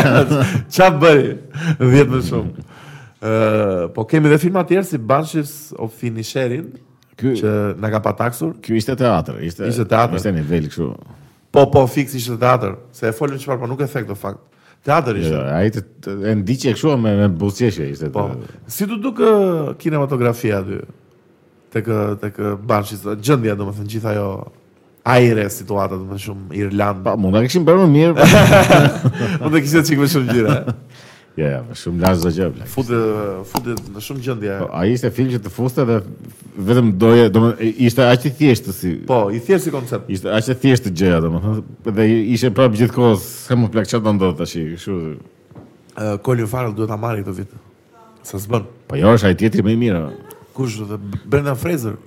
A: Qa bëri? 10 më shumë. Ë, po kemi edhe filma të tjerë si Banshees of Finisherin,
B: Ky
A: që na ka pataksur.
B: ky ishte teatr, ishte
A: Ishte teatr.
B: Ishte nivel kështu.
A: Po, po, fiks ishte teatr. Se e folëm çfarë, po nuk e thek do fakt. Teatr
B: Jo,
A: ishte.
B: Ai të të- e ndiqe kështu me me buzëqeshje ishte.
A: Po.
B: të-
A: Si të duk ë, kinematografia aty? Tek ë, tek ë, Banshees, ë, gjendja domethënë gjithë ajo ajre situata domethënë shumë Irland.
B: Pa, mund ta kishin bërë më mirë. po.
A: Po të kishte çikë më shumë gjëra.
B: Ja, ja, shumë lash çdo gjë. plak.
A: Futë futet në shumë gjendje.
B: Po, Ai ishte film që të fuste dhe vetëm doje, domethënë ishte aq i thjeshtë si
A: Po, i thjesht si koncept.
B: Ishte aq e thjeshtë gjëja domethënë dhe ishte prapë gjithkohë s'ka më plak çfarë do ndodhte tash, kështu.
A: Ë, Colin Farrell duhet ta marrë këtë vit. Sa s'bën.
B: Po jo, është ai tjetri më i mirë. o.
A: Kush do të Brendan Fraser?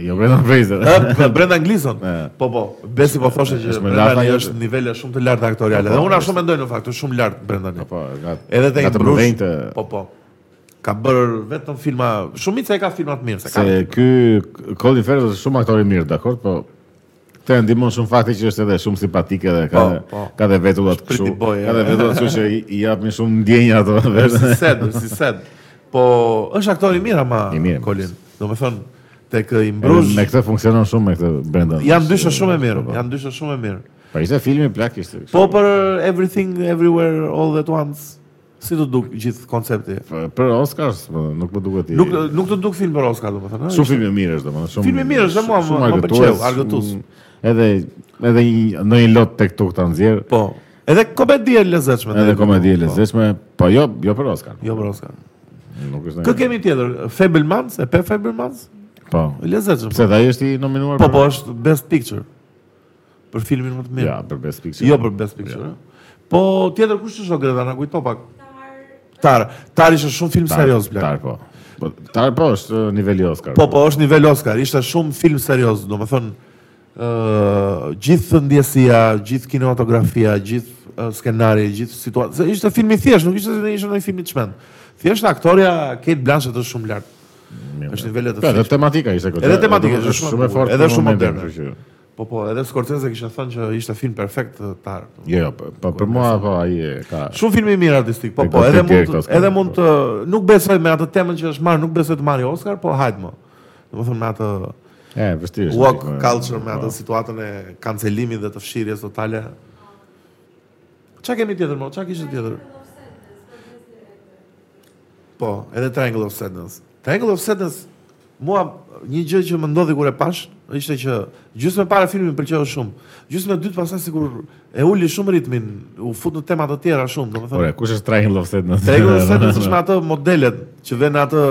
B: Jo Brendan Fraser.
A: Ë, Brendan Gleeson.
B: E.
A: Po po, Besi po thoshte që
B: është me
A: Brendan
B: lartë
A: është
B: ajo.
A: në nivele shumë të lartë aktoriale. Dhe unë ashtu mendoj në fakt, është shumë lart Brendani.
B: Po, nga
A: Edhe te
B: nga
A: i
B: të
A: Brush,
B: mëdhenjtë,
A: Po po. Ka bërë vetëm filma, shumica e ka filma të mirë se ka.
B: se ky Colin Farrell është shumë aktor i mirë, dakor, po këtë e ndihmon shumë fakti që është edhe shumë simpatike dhe ka
A: Po,
B: dhe-
A: po.
B: ka dhe vetullat
A: pretty
B: kështu.
A: boy, eh. e.
B: Ka dhe vetullat kështu që i- i japin shumë ndjenjë ato
A: Është
B: vetë.
A: si sed, është si sed. Po është aktor i mirë ama
B: I mirë.
A: Colin. Domethën tek i mbrush
B: Me po. këtë funksionon shumë me këtë Brendan.
A: janë dyshë shumë e mirë, janë dyshë shumë e mirë.
B: Po ishte filmi plak ishte. kështu.
A: Po për Everything Everywhere All at Once, si do duk gjithë koncepti?
B: Për- për Oscars, po, nuk më duket i.
A: Nuk nuk do duk film për Oscar domethënë. ë?
B: Shumë film i mirë është domethënë, shumë.
A: Film i mirë është, dhe mua më-
B: shumë
A: më
B: argëtues,
A: pëlqeu, argëtues.
B: shumë- Edhe edhe një ndonjë lot tek tuk ta nxjerr,
A: Po. Edhe komedi e lezetshme.
B: edhe
A: dhe-
B: komedi e
A: po,
B: lezetshme, po jo jo për Oscar.
A: Jo për Oscar.
B: Nuk
A: Kë
B: është. ndonjë-
A: kemi tjetër? Fablemans, e pe Fablemans?
B: Po.
A: Lezetshëm.
B: Pse dhe ai është i nominuar
A: Po, po, është Best Picture. Për filmin më të mirë.
B: Ja, për Best Picture.
A: jo për Best Picture. ë? Po, tjetër kush është o Greta, na kujto pak.
D: Tar,
A: Tar, Tar ishte shumë film
B: Tar-
A: serioz plak.
B: Tar po. Po Tar po është uh, niveli Oscar.
A: Po, po, është nivel Oscar, ishte shumë film serioz, domethënë ë gjithë ndjesia, gjithë kinematografia, gjithë uh, skenari, gjithë situata. Se Ishte film i thjeshtë, nuk ishte se ishte ndonjë film i çmend. Thjesht aktoria Kate Blanchett është shumë lart.
B: Mirë.
A: është nivele të
B: Po, edhe
A: thjeshta.
B: tematika ishte këtë.
A: Edhe tematika ishte shumë e
B: shumë e
A: bukur,
B: fortë.
A: edhe
B: për
A: shumë
B: momentin,
A: moderne.
B: kështu që-
A: Po, po, edhe Scorsese kishte thënë që ishte film perfekt ë, Tar.
B: Jo, jo, po- po për mua po ai e ka.
A: Shumë filmi i mirë artistik, po
B: E
A: po,
B: ka
A: edhe
B: të
A: mund
B: direkt
A: të-
B: Oscar,
A: edhe
B: po.
A: mund të nuk besoj me atë temën që është marrë, nuk besoj të marrë Oscar, po hajt më. Domethënë me atë
B: E, vështirë. është,
A: walk
B: po,
A: culture me
B: po.
A: atë situatën e kancelimit dhe të fshirjes totale. Çka kemi tjetër më? Çka kishte tjetër? Po, edhe Triangle of Sadness. Triangle of Sadness mua një gjë që më ndodhi kur e pash ishte që gjysmë para filmit më pëlqeu shumë. Gjysmë e dytë pastaj sikur e uli shumë ritmin, u fut në tema të tjera shumë, domethënë.
B: Po, Ore, kush është Triangle of Sadness?
A: Triangle of Sadness është me atë modelet që vënë atë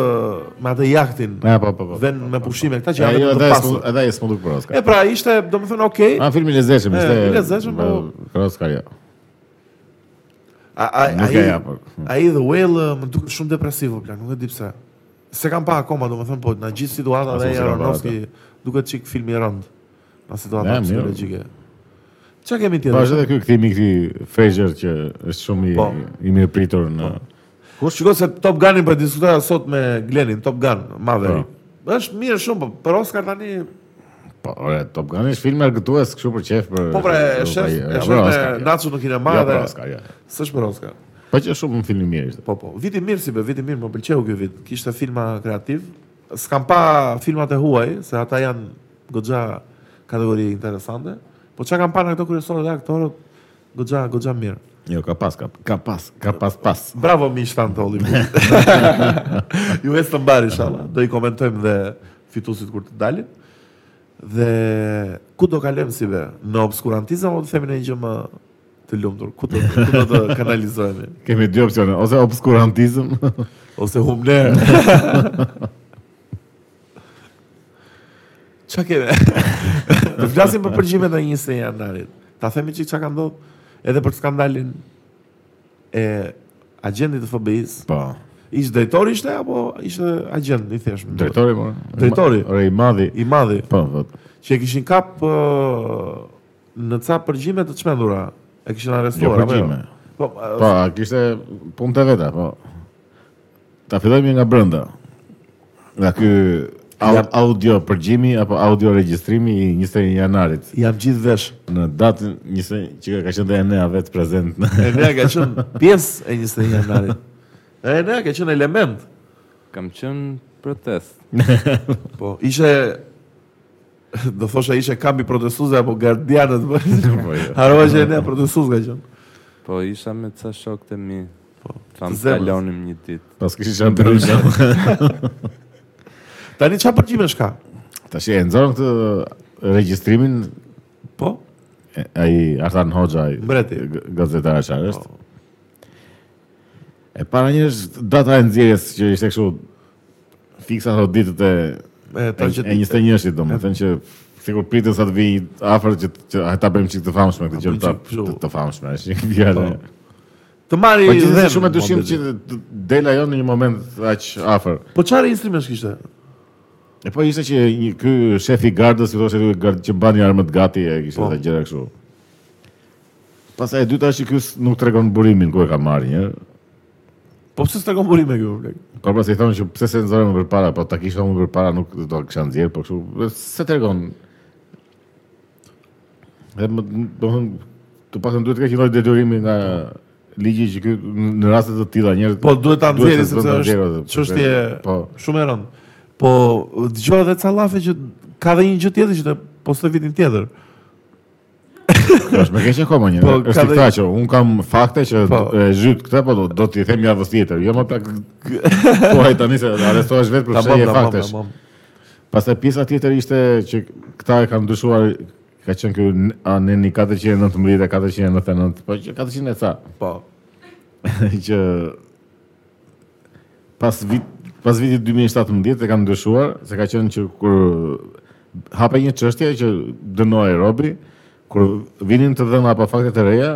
A: me atë jahtin,
B: Ja, po, po, po.
A: vënë me pushime këta që
B: Ja,
A: janë
B: jo,
A: vetëm
B: edhe
A: të
B: ai s'mu- Ah,
A: pasur.
B: edhe ai s'mu duk për Oscar.
A: E pra, ishte, domethënë, okay.
B: A filmi i lezetshëm
A: E,
B: ishte.
A: i lezetshëm, po.
B: Për Oscar jo.
A: A a
B: nuk
A: ai
B: e ja, po.
A: ai The Whale ë, më duket shumë depresiv, o plak, nuk e di pse. Se kam pa akoma, domethënë, po në gjithë situata dhe
B: Asë unë s'e kam pa
A: Aronofsky duket çik film i rënd. Në situata
B: Ja, mirë.
A: psikologjike. Çka kemi
B: Po është
A: tjetër?
B: edhe ky kthimi i këtij Fraser që është shumë i
A: Po.
B: i mirë pritur në
A: Kur shikoj se Top Gunin po e diskutoja sot me Glenin, Top Gun, Maverick. Është mirë shumë, po për Oscar tani
B: Po, ore, Top Gun është film argëtues kështu për qef për
A: Po pra, e
B: për-
A: shef,
B: për-
A: e
B: ja,
A: shef
B: për
A: me
B: Oscar, ja.
A: Nacu në kinema
B: Ja,
A: dhe...
B: për Oscar, ja.
A: S'është për Oscar.
B: Po që është shumë film i mirë ishte.
A: Po, po. Viti mirë si be, viti mirë, më pëlqeu ky vit. Kishte filma kreativ. S'kam pa filmat e huaj, se ata janë goxha kategori interesante. Po çka kam pa në këto kryesorë dhe aktorët, goxha, goxha mirë.
B: Jo, ka pas, ka, ka pas, ka pas pas.
A: Bravo mi shtanë të Hollywood. Ju esë të mbarë, inshallah. Do i komentojmë dhe fitusit kur të dalin. Dhe ku do kalem si be? Në obskurantizëm o të themi në një gjë më të lumtur? Ku do, ku do të kanalizohemi?
B: Kemi dy opcione, ose obskurantizëm,
A: Ose humler? Qa kene? të flasim për përgjimet e 21 janarit. Ta themi që qa ka ndodhë edhe për skandalin e agjendit të FBI-s
B: po.
A: Ish drejtori ishte apo ishte agent i thjeshtë?
B: Drejtori, po.
A: Drejtori.
B: Ore, i madhi.
A: i madhi
B: Po, po.
A: që e kishin kap ë, në ca përgjime të çmendura. E kishin
B: Jo,
A: arrestuar apo jo?
B: përgjime.
A: Po,
B: Po, a kishte punë të veta, po. Ta fillojmë nga brenda. Nga ky au- audio përgjimi apo audio regjistrimi i 21 janarit
A: ë, jam gjithë vesh.
B: në datën 20 që ka qenë dhe Enea vetë prezent në
A: E nea ka qenë pjesë e 21 janarit. E nea ka qenë element.
C: Kam qenë protest.
A: Po, ishte do thosha ishte kampi protestuese apo gardianët. po.
B: po jo.
A: Harova që e nea protestues ka qenë.
C: Po isha me ca shok të mi. Po, tham
A: të zemrës.
C: kalonim një ditë.
B: Pas kishin qenë ndryshe.
A: Tani çfarë përgjimesh ka?
B: Tash e nxorën këtë regjistrimin
A: Po,
B: e- ai Artan Hoxha, ai
A: Mbreti.
B: g- gazetari që është.
A: Po.
B: E para njërës data e nxjerrjes që ishte kështu fiksa ato ditët e
A: e
B: E
A: ta që
B: e 21-shit do, më thënë që sikur pritën sa të vi afër që që a ta bëjmë çik të famshme këtë gjë
A: bëjmë
B: ta
A: çik kështu. Po.
B: të- të famshme, është një fjalë.
A: të marri.
B: Po gjithë
A: dhem,
B: shumë e dyshim
A: modelit.
B: që të del ajo në një moment aq afër.
A: Po çfarë instrumesh kishte?
B: E po ishte që një ky shefi i gardës, i thoshte ky gard që bani armët gati e kishte
A: Po.
B: të gjëra kështu. Pastaj e dyta është që ky s- nuk tregon burimin ku e ka marrë një.
A: Po pse s'ta komburim me kjo blek?
B: Po pra se i thonë që pse se nxorën më përpara, po ta kisha më përpara nuk do të kisha nxjerr, po kështu se tregon. Dhe më do të thonë të paktën duhet të ketë një lloj detyrimi nga ligji që ky në raste të tilla njerëz
A: Po duhet ta nxjerrë
B: duhet të
A: sepse
B: ta nxjerrë,
A: është
B: dhe-
A: çështje
B: po
A: shumë e rëndë. Po dëgjova edhe ca llafe që ka dhe një gjë tjetër që të postoj vitin tjetër.
B: është më keq akoma një.
A: Po, ka
B: Është
A: dhe-
B: këta që un kam fakte që
A: Po.
B: e zhyt këtë, po do, do t'i them javës tjetër. Jo më tak thuaj tani se arrestohesh vetë për
A: Tamam,
B: shënje
A: tamam,
B: faktesh.
A: tamam.
B: Pastaj pjesa tjetër ishte që këta e kanë ndryshuar ka qenë ky n- aneni 419 499, po që 400 e ca,
A: Po.
B: që pas vit pas vitit 2017 e kanë ndryshuar, se ka qenë që kur hape një çështje që dënoi robi, kur vinin të dhëna pa fakte të reja,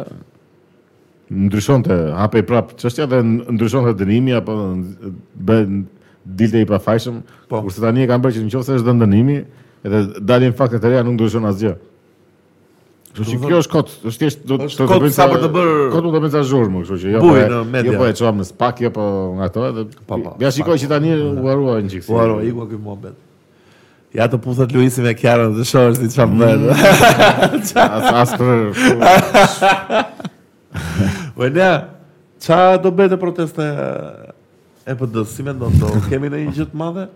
B: ndryshonte, hapej prap çështja dhe n- ndryshonte dënimi apo n- bën dilte i pafajshëm.
A: Po.
B: Kurse tani e kanë bërë që nëse është dhënë dënimi, edhe dalin fakte të reja nuk ndryshon asgjë. Kështu që kjo është kot, është thjesht do
A: Është kot sa për të bërë-
B: kot mund të bëjmë sa zhurmë, kështu që jo.
A: Bujë
B: po e-
A: në media.
B: Jo po e çuam në spak, jo po nga ato edhe.
A: Po, po,
B: Ja shikoj që tani u harrua një çik.
A: Po aro, iku ky mohabet. Ja të puthet Luisi me Kiarën dhe shohësh si
B: Mm.
A: çfarë bën.
B: As as për
A: Po ne ça do bëhet e protesta e PD-s? Si mendon do kemi ndonjë gjë të madhe?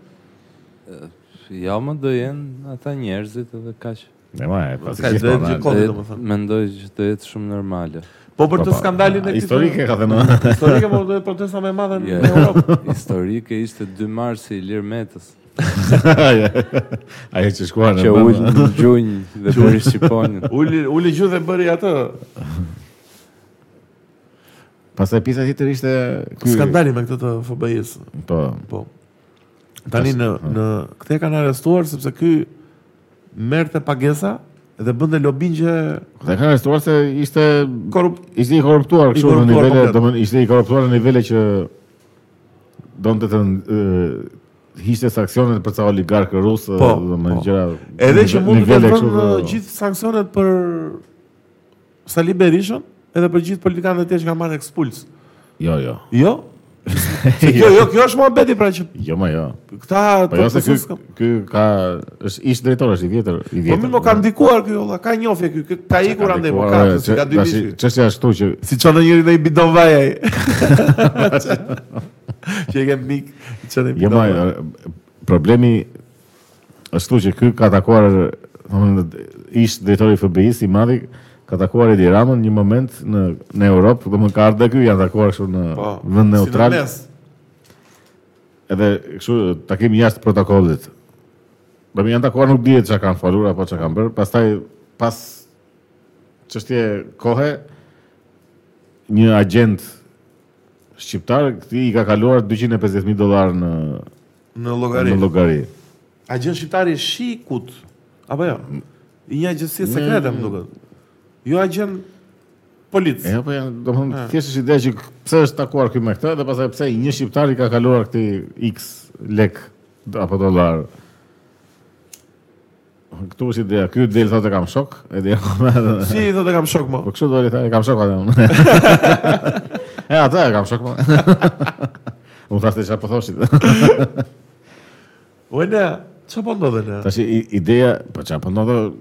C: Ja më do jenë ata njerëzit edhe kaq.
B: Ne ma, e, pasi
A: Ka
B: gjithë
A: drejt
B: po, na-
A: gjë kot. Po,
C: Dhe
A: domethënë.
C: Mendoj që do jetë shumë normale.
A: Po për
B: Po,
A: të
B: po,
A: skandalin e këtij.
B: Historike ka thënë.
A: Historike po do jetë protesta më e madhe në
C: Ja.
A: Europë.
C: Historike ishte 2 marsi i Lir Metës,
B: Ai që shkuan në.
C: që
B: brenda.
C: ul në gjunjë dhe bëri shqiponin.
A: Uli uli gjë dhe bëri atë
B: Pastaj pjesa tjetër ishte ky-
A: skandalin me këtë të FBI-s.
B: Po.
A: Po. Tani në në këtë e kanë arrestuar sepse ky merrte pagesa dhe bënte lobin që
B: Dhe kanë arrestuar se ishte
A: korup
B: ishte i korruptuar
A: I
B: kështu në
A: korruptuar
B: nivele,
A: komplet.
B: domethënë ishte i korruptuar në nivele që donte të ë, hiqte sanksionet për ca oligarkë rusë,
A: Po,
B: domethënë
A: po.
B: gjëra.
A: edhe që mund të
B: nivele
A: vënë
B: kështu,
A: gjithë sanksionet për Sali Berishën edhe për gjithë politikanët e tjerë që kanë marrë ekspuls.
B: Jo, jo.
A: Jo? Se kjo, jo, kjo është muhabeti pra që
B: Jo, ma jo.
A: këta
B: Po jo se ky
A: s'ka-
B: ky ka është ish drejtor është i vjetër, i
A: Po
B: vjetër.
A: mirë, më ka ndikuar ky olla, ka njofje ky, ky- ka ikur ande, po ka, se ka dy mish. ky.
B: Çështja ashtu që
A: Si çon në njëri në i bidon vaj ai. Që e kem mik, i çon në i
B: jo
A: bidon
B: ma
A: vaj.
B: problemi është tu që ky ka takuar domethënë ish drejtori i FBI-s i madhi ka takuar Edi Ramën një moment në në Europë, domthon ka ardhur këtu, janë takuar kështu në po,
A: Po,
B: vend neutral. edhe kështu takim jashtë protokollit. Do më janë takuar nuk dihet çka kanë folur apo çka kanë bërë. Pastaj pas çështje kohe një agent shqiptar këtij i ka kaluar 250.000 dollar në
A: Në
B: në
A: llogari.
B: llogari.
A: Agent shqiptari shikut. Apo jo? I një agjësie sekrete, më duket. Jo agent policë.
B: Mm. E apo janë, domthonë thjesht është ide që k- pse është takuar ky me këtë dhe pastaj pse një shqiptar i ka kaluar këtij X lek d- apo dollar. Këtu është ideja, ky del thotë kam shok, edhe ja kam
A: Si i thotë kam shok më.
B: Po kështu doli tha, e kam shok atë. unë." e atë e kam shok. unë." Unë thashë çfarë po thoshit.
A: O ne, çfarë po ndodhe ne?
B: Tash i- ideja, po çfarë po ndodh?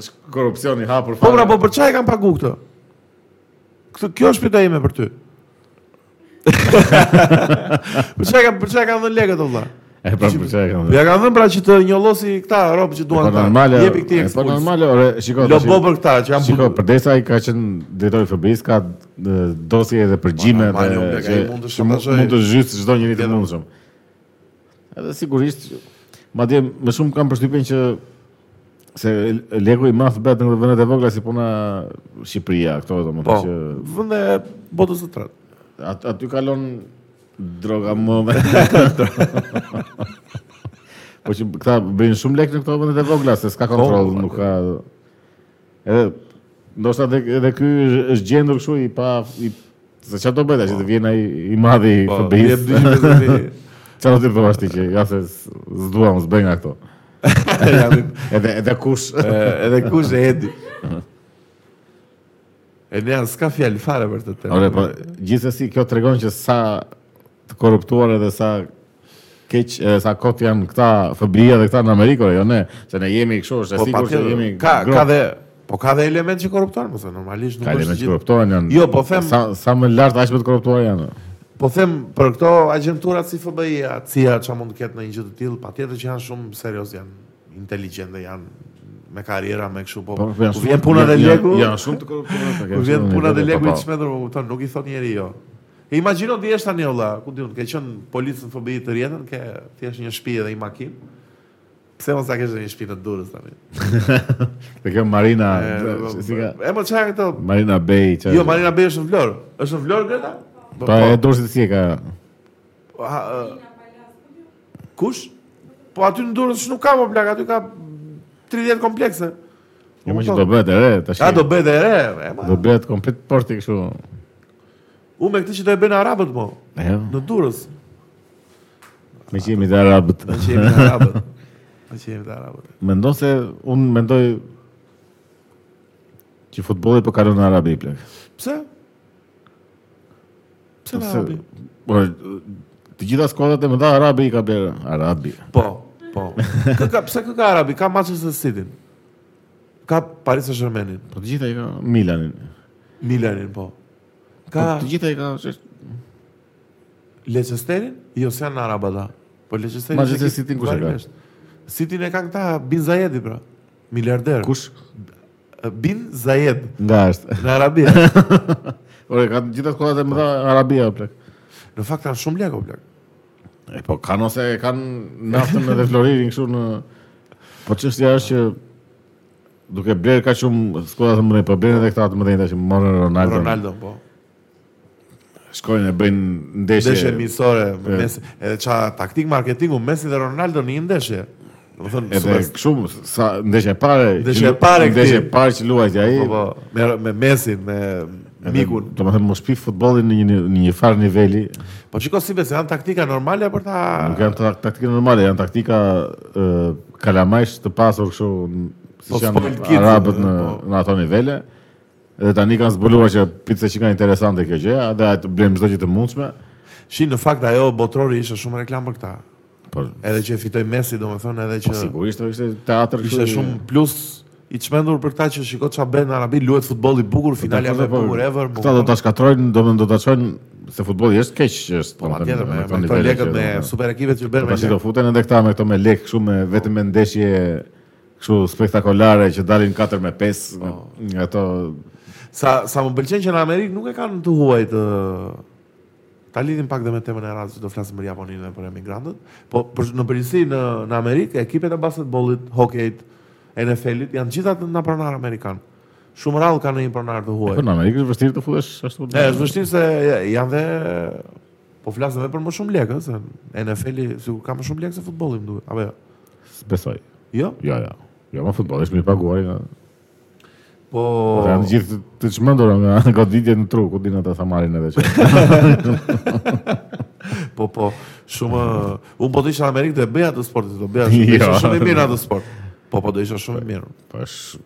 B: Është korrupsion i hapur.
A: Po
B: fare.
A: pra, po për çfarë e kanë pagu këtë? Këtë kjo është pyetja ime për ty. për çfarë kanë për çfarë kanë dhënë lekët o vëlla?
B: E pra për çfarë kam.
A: Ja kanë dhënë pra që të njollosi këta rob që
B: Po
A: duan ta.
B: normale.
A: Jepi këtë
B: Po
A: ekspuls.
B: normale, ore, shiko.
A: Lo
B: tash-
A: bo për këta që janë
B: po, Shiko,
A: bulë.
B: përdesa i ka qenë drejtori i FBI-s, ka e, dosje dhe përgjime
A: Ma, normali, unë blega, i mund të
B: që mund-
A: shpatashoj.
B: mund të zhyt çdo njeri të
A: Tjetër.
B: mundshëm. Edhe sigurisht, madje më shumë kam përshtypjen që se Lego i madh bëhet në këto vendet e vogla si puna Shqipëria, këto
A: Po.
B: domethënë që
A: Vende e botës së tretë.
B: at, aty kalon droga më me. po që këta bëjnë shumë lek në këto vendet e vogla se s'ka kontroll,
A: Po,
B: nuk ka edhe ndoshta edhe edhe ky është- është gjendur kështu i pa i se çfarë do bëta që të vjen ai i madhi i
A: Po,
B: FBI-s.
A: jep 250.
B: Çfarë do të bëvash ti që ja se s- s'duam s'bëj nga këto.
A: Janë-
B: Edhe edhe kush
A: E, Edhe kush e edi. E ne s'ka fjalë fare për të temë.
B: Ore, po gjithsesi kjo tregon që sa të korruptuar edhe sa keq edhe sa kot janë këta FBI dhe këta në Amerikë, ore, jo ne, se ne jemi kështu, është e
A: po
B: sigurt që
A: patjetër,
B: jemi
A: ka
B: grop.
A: ka dhe po ka dhe element që korrupton, mos e normalisht nuk
B: ka
A: është
B: elementë që
A: gjithë.
B: korruptohen janë.
A: Jo, po them-
B: sa sa më lart aq më të korruptuar janë.
A: Po them për këto agjenturat si FBI-a, CIA, çfarë mund të ketë në një gjë të tillë, patjetër që janë shumë serioz, janë inteligjente, janë me karriera, me kështu, po,
B: Po,
A: po
B: janë
A: ku
B: shumë-
A: vjen puna dhe
B: janë-
A: leku,
B: Janë shumë të korruptuar. ata,
A: ku
B: kanë
A: vjen
B: shumë
A: puna dhe
B: nivele,
A: leku
B: po,
A: i
B: po.
A: çmendur, më kupton, nuk i thot njeri jo. E imagjino ti jesh tani olla, ku diun, ke qenë policë në FBI të rjetën, ke thjesht një shtëpi dhe një makinë. Pse mos ta kesh dhe një shtëpi në Durrës tani?
B: Dhe kjo Marina,
A: E,
B: si ka
A: E mo çfarë këto?
B: Marina Bay, çfarë?
A: Jo, Marina Bej është në Vlorë. Është në Vlorë Greta? Po,
B: Po e dorësit si e ka.
A: Po, ha, e, Kush? Po aty në Durrës nuk ka më plak, aty ka 30 komplekse.
B: Jo më që do bëhet e re, tash.
A: A do bëhet e re? e, ma.
B: do bëhet komplet porti kështu.
A: Unë me këtë që do e bëjnë arabët mo,
B: Jo,
A: në Durrës.
B: me që jemi të arabët.
A: Me që jemi të arabët. Me që jemi të arabët.
B: Mendon se unë mendoj që futbolli po kalon në Arabi plak.
A: Pse? Pse në
B: Pse?
A: arabi?
B: Po të gjitha skuadrat e mëdha Arabi i ka bler Arabi.
A: Po, po. Kë ka, pse kë ka arabi? Ka Manchester City-n. Ka Paris Saint-Germain-in.
B: Po të gjitha i ka Milanin.
A: Milanin, po.
B: Po
A: Ka
B: të gjitha i ka ç'është,
A: Leicesterin? Jo, se janë në Arab ata. Po Leicesterin.
B: Manchester City-n kush e ka?
A: City e kanë këta Bin Zayedi pra. Miliarder.
B: kush
A: Bin Zayed
B: nga është.
A: në Arabi.
B: Ore ka të gjitha skuadrat e mëdha Arabia plak.
A: në fakt kanë shumë lekë o plak.
B: E po kanë ose e kanë naftën edhe floririn kështu në Po çështja është që duke bler ka shumë skuadra të mëdhenj, po bler edhe këta të mëdhenj tash morën Ronaldo.
A: Ronaldo po.
B: Shkojnë e bëjnë ndeshje.
A: Ndeshje miqësore,
B: E.
A: Messi, edhe ça taktik marketingu Messi dhe Ronaldo në një ndeshje. Do të thonë
B: Edhe
A: super-
B: kështu sa ndeshja e parë,
A: Ndeshja e
B: që-
A: parë e këtij.
B: ndeshja e parë që luajti ai.
A: po, po, me me Messi, me Mikun.
B: Domethënë mos pi futbollin në një në një farë niveli.
A: Po shiko si besë, janë taktika normale për ta
B: Nuk janë ta- taktika normale, janë taktika ë, kalamajsh të pasur kështu n-
A: Po,
B: siç janë
A: spoiled kids,
B: arabët në
A: po.
B: në ato nivele. Dhe tani kanë zbuluar që pizza që ka interesante kjo gjë, edhe atë blejmë çdo gjë të mundshme.
A: Shi në fakt ajo botrori ishte shumë reklam për këta.
B: Por
A: Edhe që e fitoi Messi, domethënë edhe që
B: po, sigurisht është teatër
A: Ishte shumë plus i çmendur për ta që shikoj çfarë bën në Arabi, luhet futboll i bukur, finalja më e bukur ever.
B: po, Këta do ta shkatrojnë, domethënë do ta çojnë se futbolli është keq, është
A: pa
B: domethënë,
A: tjetër po, me
B: në
A: me këto
B: nivele
A: lekët
B: që-
A: me super ekipet që bën me
B: Tash Po, do
A: lekë.
B: futen edhe këta me këto me lek kështu me vetëm me ndeshje kështu spektakolare që dalin 4 me 5 nga,
A: Oh.
B: nga ato
A: Sa, sa më pëlqen që në Amerikë nuk e kanë të huaj të... Ta lidhim pak dhe me temën e radhës, që do flasim për Japoninë dhe për emigrantët, po për, në përgjithësi në, në Amerikë, ekipet e basketbollit, hokejt, NFL-it, janë gjitha të nga pronar Amerikan. Shumë rallë kanë një pronar të huaj.
B: Po në Amerikë është vështirë të futesh ashtu.
A: E, është vështirë se janë dhe... Po flasim edhe për më shumë lekë, ëh, se NFL-i sigur ka më shumë lekë se futbolli, më duket. Apo jo?
B: Besoj.
A: Jo?
B: Jo, jo. Jo, më futbolli është mirë paguar nga.
A: Po,
B: Po janë të gjithë të- të çmendur nga goditje në tru, ku dinë ata sa marrin edhe çfarë.
A: po, po, shumë... Unë po të isha në Amerikë do e bëja atë sport, do bëja shumë,
B: Jo.
A: isha shumë i mirë në atë sport. Po, po, do isha shumë i mirë.
B: Po është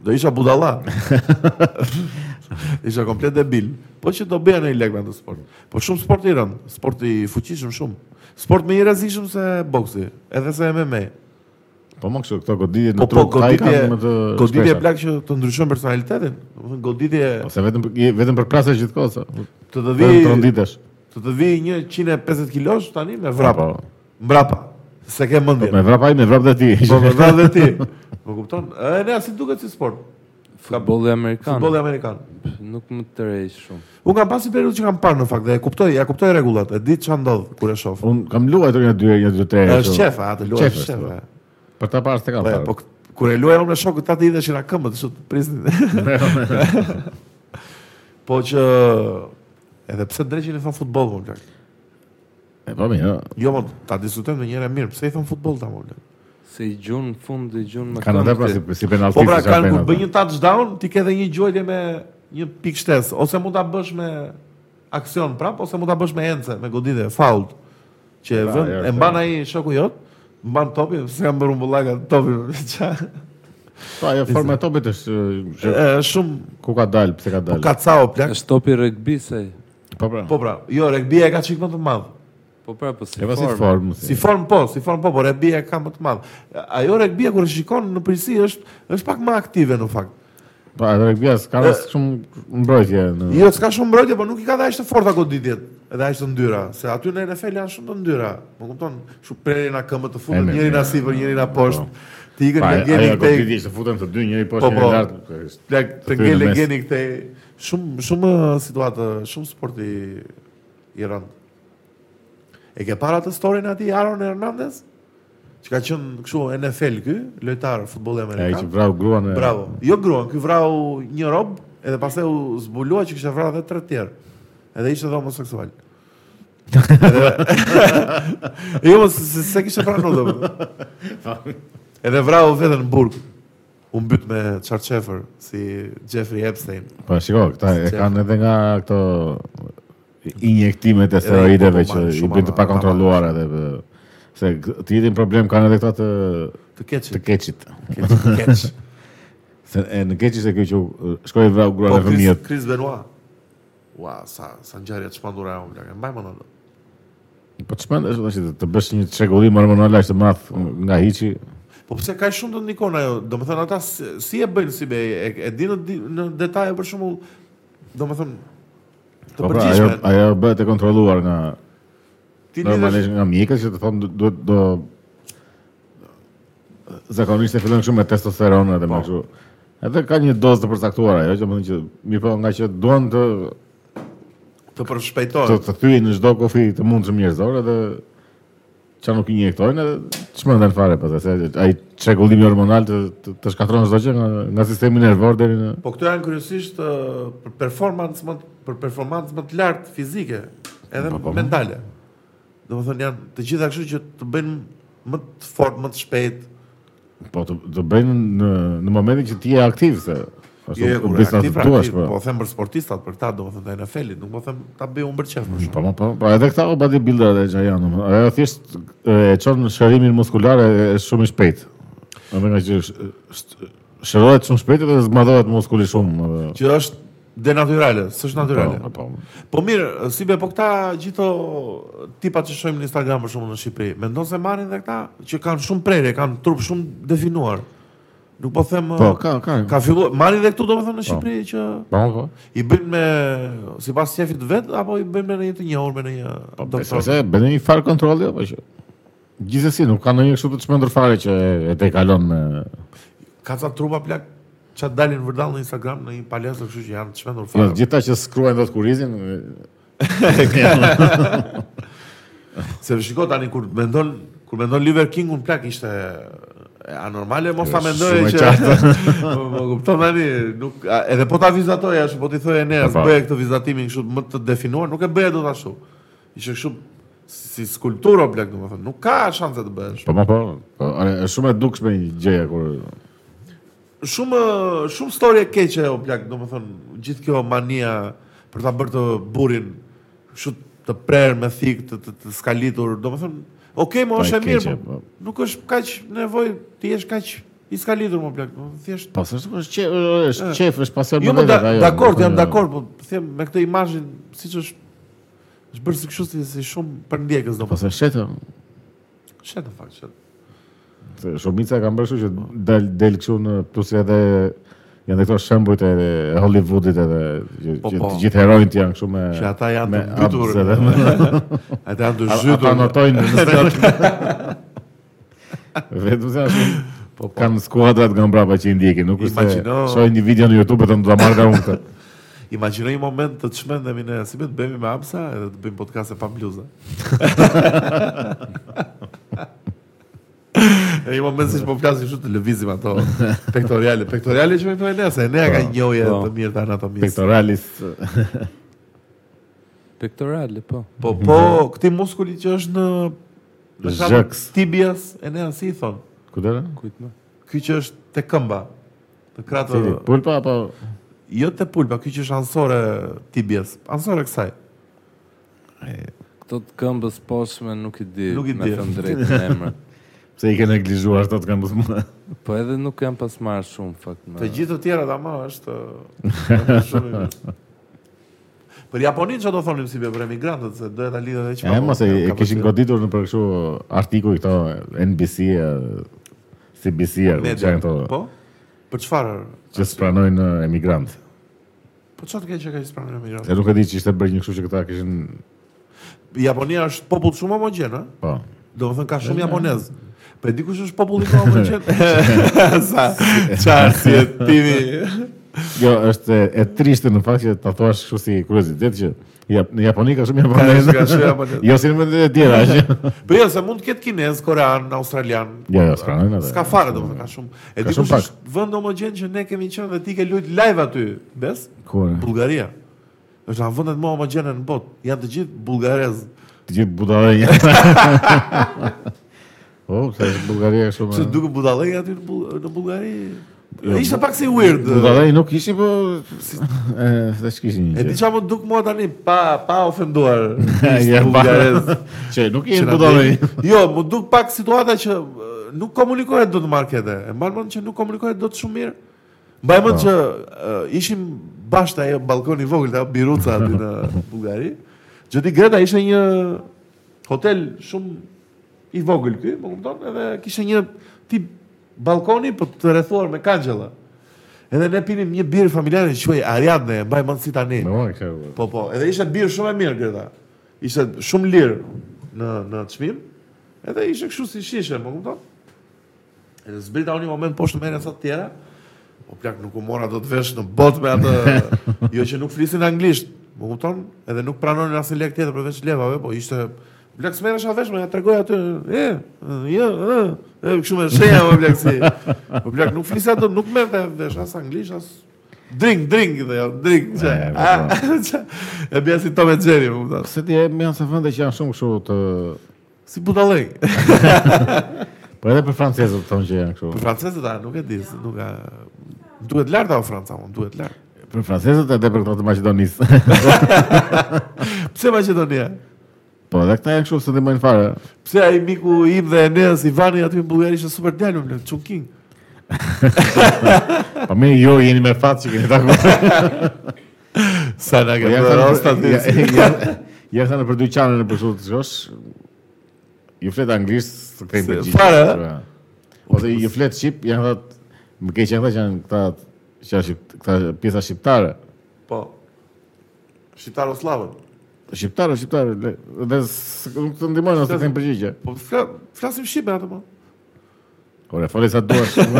A: Do isha budalla. isha komplet debil. Po që do bëja në i lek me atë sport. Po shumë sport i rënd, sport i fuqishëm shumë. Sport më i rrezikshëm se boksi, edhe se MMA.
B: Po më kështu këto goditje në
A: Po
B: tru,
A: po goditje, goditje
B: shpesha.
A: plak që të ndryshon personalitetin. Do të thënë, Goditje
B: Ose vetëm je- vetëm për prasë gjithkohë. sa.
A: të të vi
B: Vetëm tronditesh.
A: të të vi një 150 kilosh tani me vrap.
B: Po,
A: Mbrapa. Se ke
B: Me
A: mendje.
B: vrap ai, me vrap dhe ti.
A: Po me vrap dhe ti. Po kupton? E ne si duket si sport.
C: Futbolli amerikan.
A: Futbolli amerikan.
C: Nuk më tërheq shumë.
A: Unë kam pasi periudhë që kam parë në fakt dhe e kuptoj, ja kuptoj rregullat, e di çfarë ndodh kur e shoh.
B: Unë kam luajtur një dy herë, një dy tre herë.
A: Është
B: kështu.
A: qefa, atë luaj
B: Qef
A: është
B: është,
A: qefa.
B: Për ta parë s'te kam
A: Po,
B: parë.
A: po k- kur e luaja unë me shokët atë i deshin na këmbët, kështu të prisnin. po që edhe pse dreqin i thon futboll më plak.
B: E, po mirë.
A: Jo, më ta diskutojmë ndonjëherë mirë, pse i thon futboll ta më
B: Po,
A: plak.
C: Se i gjun në fund, i gjun me
B: Kanë ata pra si
C: këmbë.
B: si penalti.
A: Po pra
B: si
A: kanë kur
B: penalti.
A: bën një touchdown, ti ke edhe një gjuajtje me një pikë shtesë ose mund ta bësh me aksion prap ose mund ta bësh me ence, me goditje, faul. Që e
B: Pra,
A: vën,
B: ja,
A: e
B: është,
A: mban
B: ja.
A: ai shoku jot, mban topin, se kanë bërë mbullaka topin. qa-
B: Po ajo forma e topit është që
A: Është shumë
B: ku ka dalë, pse ka
A: po
B: dalë.
A: kacao plak.
C: Është topi rugby se.
B: Po pra.
A: Po pra, jo, regbia e ka qikë më të madh.
C: Po pra, po si
B: E pasi
C: formë.
B: formë.
A: Si form po, si form po, por regbia e ka më të madh. Ajo regbia kur e shikon në përsi është, është pak më aktive në fakt.
B: Po atë regbia s'ka as shumë mbrojtje në.
A: Jo, s'ka shumë mbrojtje, por nuk i ka dhe ashtë të forta goditjet edhe ashtë të ndyra, se aty në NFL janë shumë të ndyra. Më kupton, shu preri na këmbë të
B: E,
A: fundit,
B: mirë,
A: njëri na
B: mirë.
A: sipër, njëri na poshtë. Ti
B: Po
A: ikën nga
B: ajo
A: geni
B: ajo
A: këtej,
B: goditje ishte futën të dy, njëri
A: Po,
B: poshtë,
A: po.
B: njëri lart. është-
A: plak
B: të
A: të
B: thynë në
A: ngele
B: mes.
A: geni këtej. Shumë shumë eh, situatë, shumë sport i i rënd. E ke para të storin atij Aaron Hernandez? Që ka qenë kështu NFL ky, lojtar futbolli
B: Ai që
A: amerikan.
B: vrau gruan e.
A: Bravo. Jo gruan, ky vrau një rob, edhe pastaj u zbulua që kishte vrarë edhe tre të tjerë. Edhe ishte dhe homoseksual. edhe... jo, se, se, se kishte pranuar domethënë. Edhe vrau veten në burg. U mbyt me Charchefer si Jeffrey Epstein.
B: Po shiko, këta e
A: Se-
B: kanë edhe nga këto injektimet e steroideve
A: i
B: që
A: populluar
B: i
A: shumë,
B: bën të
A: ama-
B: pakontrolluara edhe për- se k- të jetin problem kanë edhe këta të
A: Të keqit.
B: të keqit.
A: Keq, keq.
B: Se e, në keq ishte kjo që u, e, shkoi vrau gruan
A: Po
B: e
A: Chris,
B: fëmijët.
A: Chris Benoit. Ua, sa sa ngjarje të çmendura ajo bla. Mbaj mend atë.
B: Po çmendesh tash të- të bësh një çegullim hormonal aq të madh nga hiçi.
A: Po pse ka shumë të ndikon ajo? Domethënë ata si, si e bëjnë si be e, e di në di- në detaje për shembull domethënë të
B: Po pra, ajo
A: përgjithshme.
B: ajo bëhet e kontrolluar nga
A: Ti lidhesh
B: normalisht nga mjekët që të thonë du- duhet do zakonisht e fillon kështu me testosteronë
A: Po.
B: edhe me kështu. Edhe ka një dozë të përcaktuar ajo, që më thënë që mirë po nga që duan të
A: të
B: të,
A: përshpejtojnë.
B: të thyejnë në çdo kofi të mundshëm njerëzor edhe çka nuk injektojnë edhe çmenden fare pastaj se ai çrregullimi hormonal të të, të shkatron çdo gjë nga, nga sistemi nervor deri në
A: Po këto janë kryesisht ë, për performancë më të- për performancë më të lartë fizike, edhe
B: Po, po.
A: mentale. Domethënë janë të gjitha kështu që të bëjnë më të fortë, më të shpejtë.
B: po të, të bëjnë në në momentin që ti je aktiv se ashtu
A: Jo, jo, kur
B: bisna
A: aktiv,
B: të duash
A: aktiv,
B: po.
A: po them për sportistat, për ta domethënë të NFL-it, nuk po them ta bëj unë për çfarë.
B: Po po po, po edhe këta o bodybuilder edhe që janë, domethënë, ajo thjesht e çon shërimin muskular e e shumë i shpejt. Edhe nga që sh- sh- shërohet shumë shpejt edhe zmadhohet muskuli shumë. edhe-
A: Që është denatyrale, s'është natyrale.
B: Po, po.
A: Po mirë, si be, po këta gjitho tipa që shohim në Instagram për shumë në Shqipëri, mendon se marrin dhe këta që kanë shumë prerje, kanë trup shumë definuar. Nuk po them
B: Po, ka ka.
A: ka filluar marrin dhe këtu domethënë në Shqipëri që
B: Po po.
A: i bëjnë me sipas shefit vet apo i bëjnë me një të njohur me një
B: Po,
A: doktor.
B: Se bëni një farë kontrolli apo jo, po, që? Gjithsesi nuk ka ndonjë kështu të çmendur fare që e- e dekalon me
A: Ka ca trupa plak që dalin vërdall në Instagram në një palestër, kështu që janë të shmendur
B: Jo,
A: fare.
B: gjithta që skruajnë dot kurizin.
A: Se shiko tani kur mendon kur mendon Liver King un plak ishte e anormale mos ta
B: Shumë
A: mendoje
B: e
A: që
B: qartë.
A: po po, kupton tani nuk a- edhe po ta vizatoj ashtu po ti thoje ne as
B: Po, po.
A: bëje këtë vizatimin kështu më të definuar nuk e bëje dot ashtu ishte kështu si skulpturë o plak domethënë nuk ka shanse të bëhesh
B: Po po po. po ore, është shumë e dukshme një gjëja kur
A: shumë shumë story e keqe o plak, domethënë gjithë kjo mania për ta bërë të burrin kështu të prerë me thik, të, të, të skalitur, domethënë, okay, më
B: Po, e
A: është e mirë,
B: keqe,
A: po,
B: po.
A: nuk është kaq nevojë ti jesh kaq i skalitur më plak, domethënë thjesht
B: Po se është qe, është qef, është pasion
A: Jo, më da-
B: ajo,
A: dakord,
B: nuk
A: jam
B: është-
A: dakord, po them me këtë imazhin siç është është bërë si kështu si, si shumë për ndjekës
B: Po
A: domethënë.
B: se shetë,
A: Shet në fakt, shet.
B: se shumica kanë bërë kështu që del del kështu në plus edhe janë këto shembujt e e Hollywoodit edhe që,
A: Po,
B: që
A: po.
B: të gjithë heronjt janë kështu me
A: Që ata janë të
B: me
A: mbytur.
B: abs edhe me-
A: Ata janë të
B: A-
A: zhytur.
B: Ata notojnë në Vetëm se ashtu po, po. kanë skuadrat nga mbrapa që i ndjekin, nuk është se
A: Imagjino.
B: shohin një video në YouTube të më ta marr nga unë këtë.
A: Imagjinoj një moment të të shmendemi ne, si me të bëhemi me apsa edhe të bëjmë podcaste pa bluza. e një moment si që po flasim kështu të lëvizim ato pektoriale. Pektoriale që me këto e ne, se e ne ka
B: Po,
A: njohje
C: po.
A: të mirë të anatomisë.
B: Pektoralis
C: Pektorale, po.
A: Po, po, këti muskuli që është në... në shkallën
B: Mhm. Zhëks.
A: Tibias, e ne si i thonë.
B: Ku do?
C: Kujt më?
A: Ky që është te këmba. Të kratë...
B: Cili? Pulpa apo
A: Jo te pulpa, ky që është ansore tibias. Ansore kësaj.
C: Këto të këmbës posme nuk i di,
A: Nuk i
C: me
A: di.
C: thëmë drejtë në emër.
B: se i kanë neglizhuar ato të kanë buzë.
C: Po edhe nuk jam pas marrë shumë, fakt
A: Të
C: më.
A: gjithë të tjera ta ma është është shumë i mirë. Për Japonin që do thonim si bje për emigrantët, se do e ta lidhët e që
B: E mos e e kishin goditur në për kështu artikuj këto NBC e CBC e që janë këto
A: Po? Për çfarë?
B: që spranojnë e, emigrant.
A: Po çfarë të keq që ka që pranë emigrantët?
B: E nuk e di që ishte bërë një kështu që këta kishin
A: Japonia është popull shumë homogjen, ha?
B: po.
A: Do më thënë ka shumë japonez. Po e di kush është populli ka homogjen? Sa, qarë si e timi.
B: Jo, është e, e trishte në fakt që ta thuash kështu si kuriozitet që Jap- në Japoni ka shumë japonez.
A: Ka shumë japonez.
B: Jo si në vende të tjera që.
A: Po jo, se mund të ketë kinez, korean, australian.
B: Jo, jo, s'pranojnë atë.
A: Ska fare do më thënë, ka shumë. E
B: Ka
A: di
B: shumë
A: kush
B: pak.
A: është vend homogjen që ne kemi qenë dhe ti ke lujt live aty, bes?
B: Ku?
A: Bullgaria. Është nga vendet më homogjene në botë. Janë të gjithë bulgarez.
B: Të gjithë budallë. Po, se është Bullgaria kështu
A: Pse
B: më.
A: duke budallëj aty në, Bull në Bullgari?
B: Po. Jo,
A: Ishte pak si weird.
B: Budallë nuk ishin po e tash kishin
A: E
B: një.
A: di
B: gjë.
A: çfarë më duk mua tani pa pa ofenduar.
B: Ja,
A: Ishte
B: pa.
A: bulgarez.
B: Që nuk
A: Që
B: ishin
A: na
B: budallë.
A: del- Jo, më duk pak situata që e, nuk komunikohet dot në markete. E mban mend që nuk komunikohet dot shumë mirë. Mbaj mend
B: Po.
A: që e, ishim bashkë ajo balkoni i vogël ta Biruca aty në Bullgari. Gjoti Greta ishte një hotel shumë i vogël ky, më kupton, edhe kishte një tip balkoni po të rrethuar me kangjella. Edhe ne pinim një birë familjare që quhej Ariadne, e mbaj mend si tani.
B: Po, kështu.
A: Po, po, edhe ishte birë shumë e mirë Greta. Ishte shumë lirë në në çmim. Edhe ishte kështu si shishe, më kupton? Edhe zbrita unë një moment poshtë merren sa të tjera. Po plak nuk u mora dot vesh në botë me atë, jo që nuk flisin anglisht, më kupton? Edhe nuk pranonin asnjë lek tjetër përveç levave, po ishte Blek smeresha vesh me ja tregoj aty. E, jo, e, e, kështu me shenja më blek si. Po blek nuk flisa dot, nuk merrte vesh as anglisht as drink, drink dhe jo, drink. ah, Çe.
B: E, po, po.
A: A, çe. E bia si Tom e Jerry, më kupton.
B: Se ti e më janë sa vende që janë shumë kështu të
A: Si budallëk.
B: Po edhe për francezët thonë që janë
A: Për
B: kështu.
A: francezët a nuk e di, se nuk ka duhet lart apo Franca, më duhet lart.
B: Për francezët edhe për këto të maqedonisë.
A: Pse Maqedonia?
B: Po, edhe këta janë kështu se të mëjnë fare.
A: Pse ai miku im dhe Enes Ivani aty në Bullgari ishte super djalë, më Chunking.
B: Po mirë, ju jeni me fat që keni takuar.
A: Sa na
B: Po
A: ka
B: janë
A: bërë rost aty.
B: thënë ja- ja- ja kanë për dy çanën për kështu të shkosh. Ju flet anglisht, të kthejnë
A: Se,
B: për gjithë.
A: fare, ë?
B: Ose ju flet shqip, janë thot, më keq janë thot që janë këta që janë shqip, këta pjesa shqiptare.
A: Po. Shqiptaro slavët.
B: Shqiptarë, shqiptarë, le- dhe s- nuk të ndihmojnë ose të kenë përgjigje.
A: Po fla, flasim shqipe atë po.
B: Ore, fali sa duash.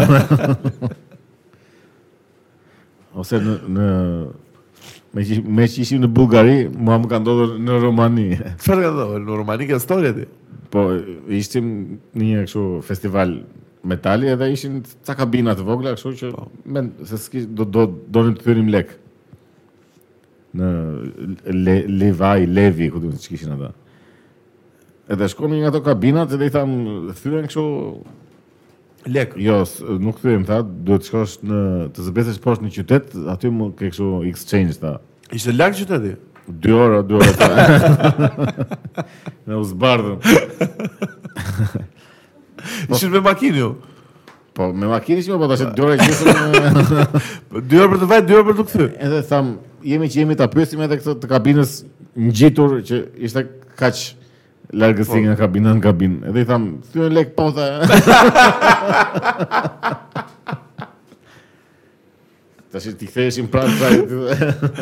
B: Ose në, në me që, me që ishim në Bulgari, mua më ka ndodhur në Rumani.
A: Çfarë ka dhënë? Në Rumani ka histori ti.
B: Po, ishim në një kështu festival metali edhe ishin ca kabina të vogla, kështu që men, se s'ki, do, do, donim të thyrim lek. Në le, Levaj, Levi, ku duhet që kishin ata. Edhe shkonim nga ato kabinat edhe i tham, thyren kështu
A: Lek.
B: Jo, s- nuk thyem tha, duhet shkosh në të zëbresesh poshtë në qytet, aty më ke kështu exchange tha.
A: Ishte lak qyteti.
B: 2 orë, 2 orë. Tha. Në u zbardhëm.
A: Ishin me makinë ju.
B: Po me makinë ishim, po tash 2 orë gjysmë.
A: Dy orë për të vajt, dy orë për të kthyr.
B: Edhe tham, jemi që jemi ta pyesim edhe këtë të kabinës ngjitur që ishte kaq
A: Po.
B: largësi nga kabina në kabinë. Edhe i tham, thyen lek po tha. Tash ti ktheheshim pranë kësaj.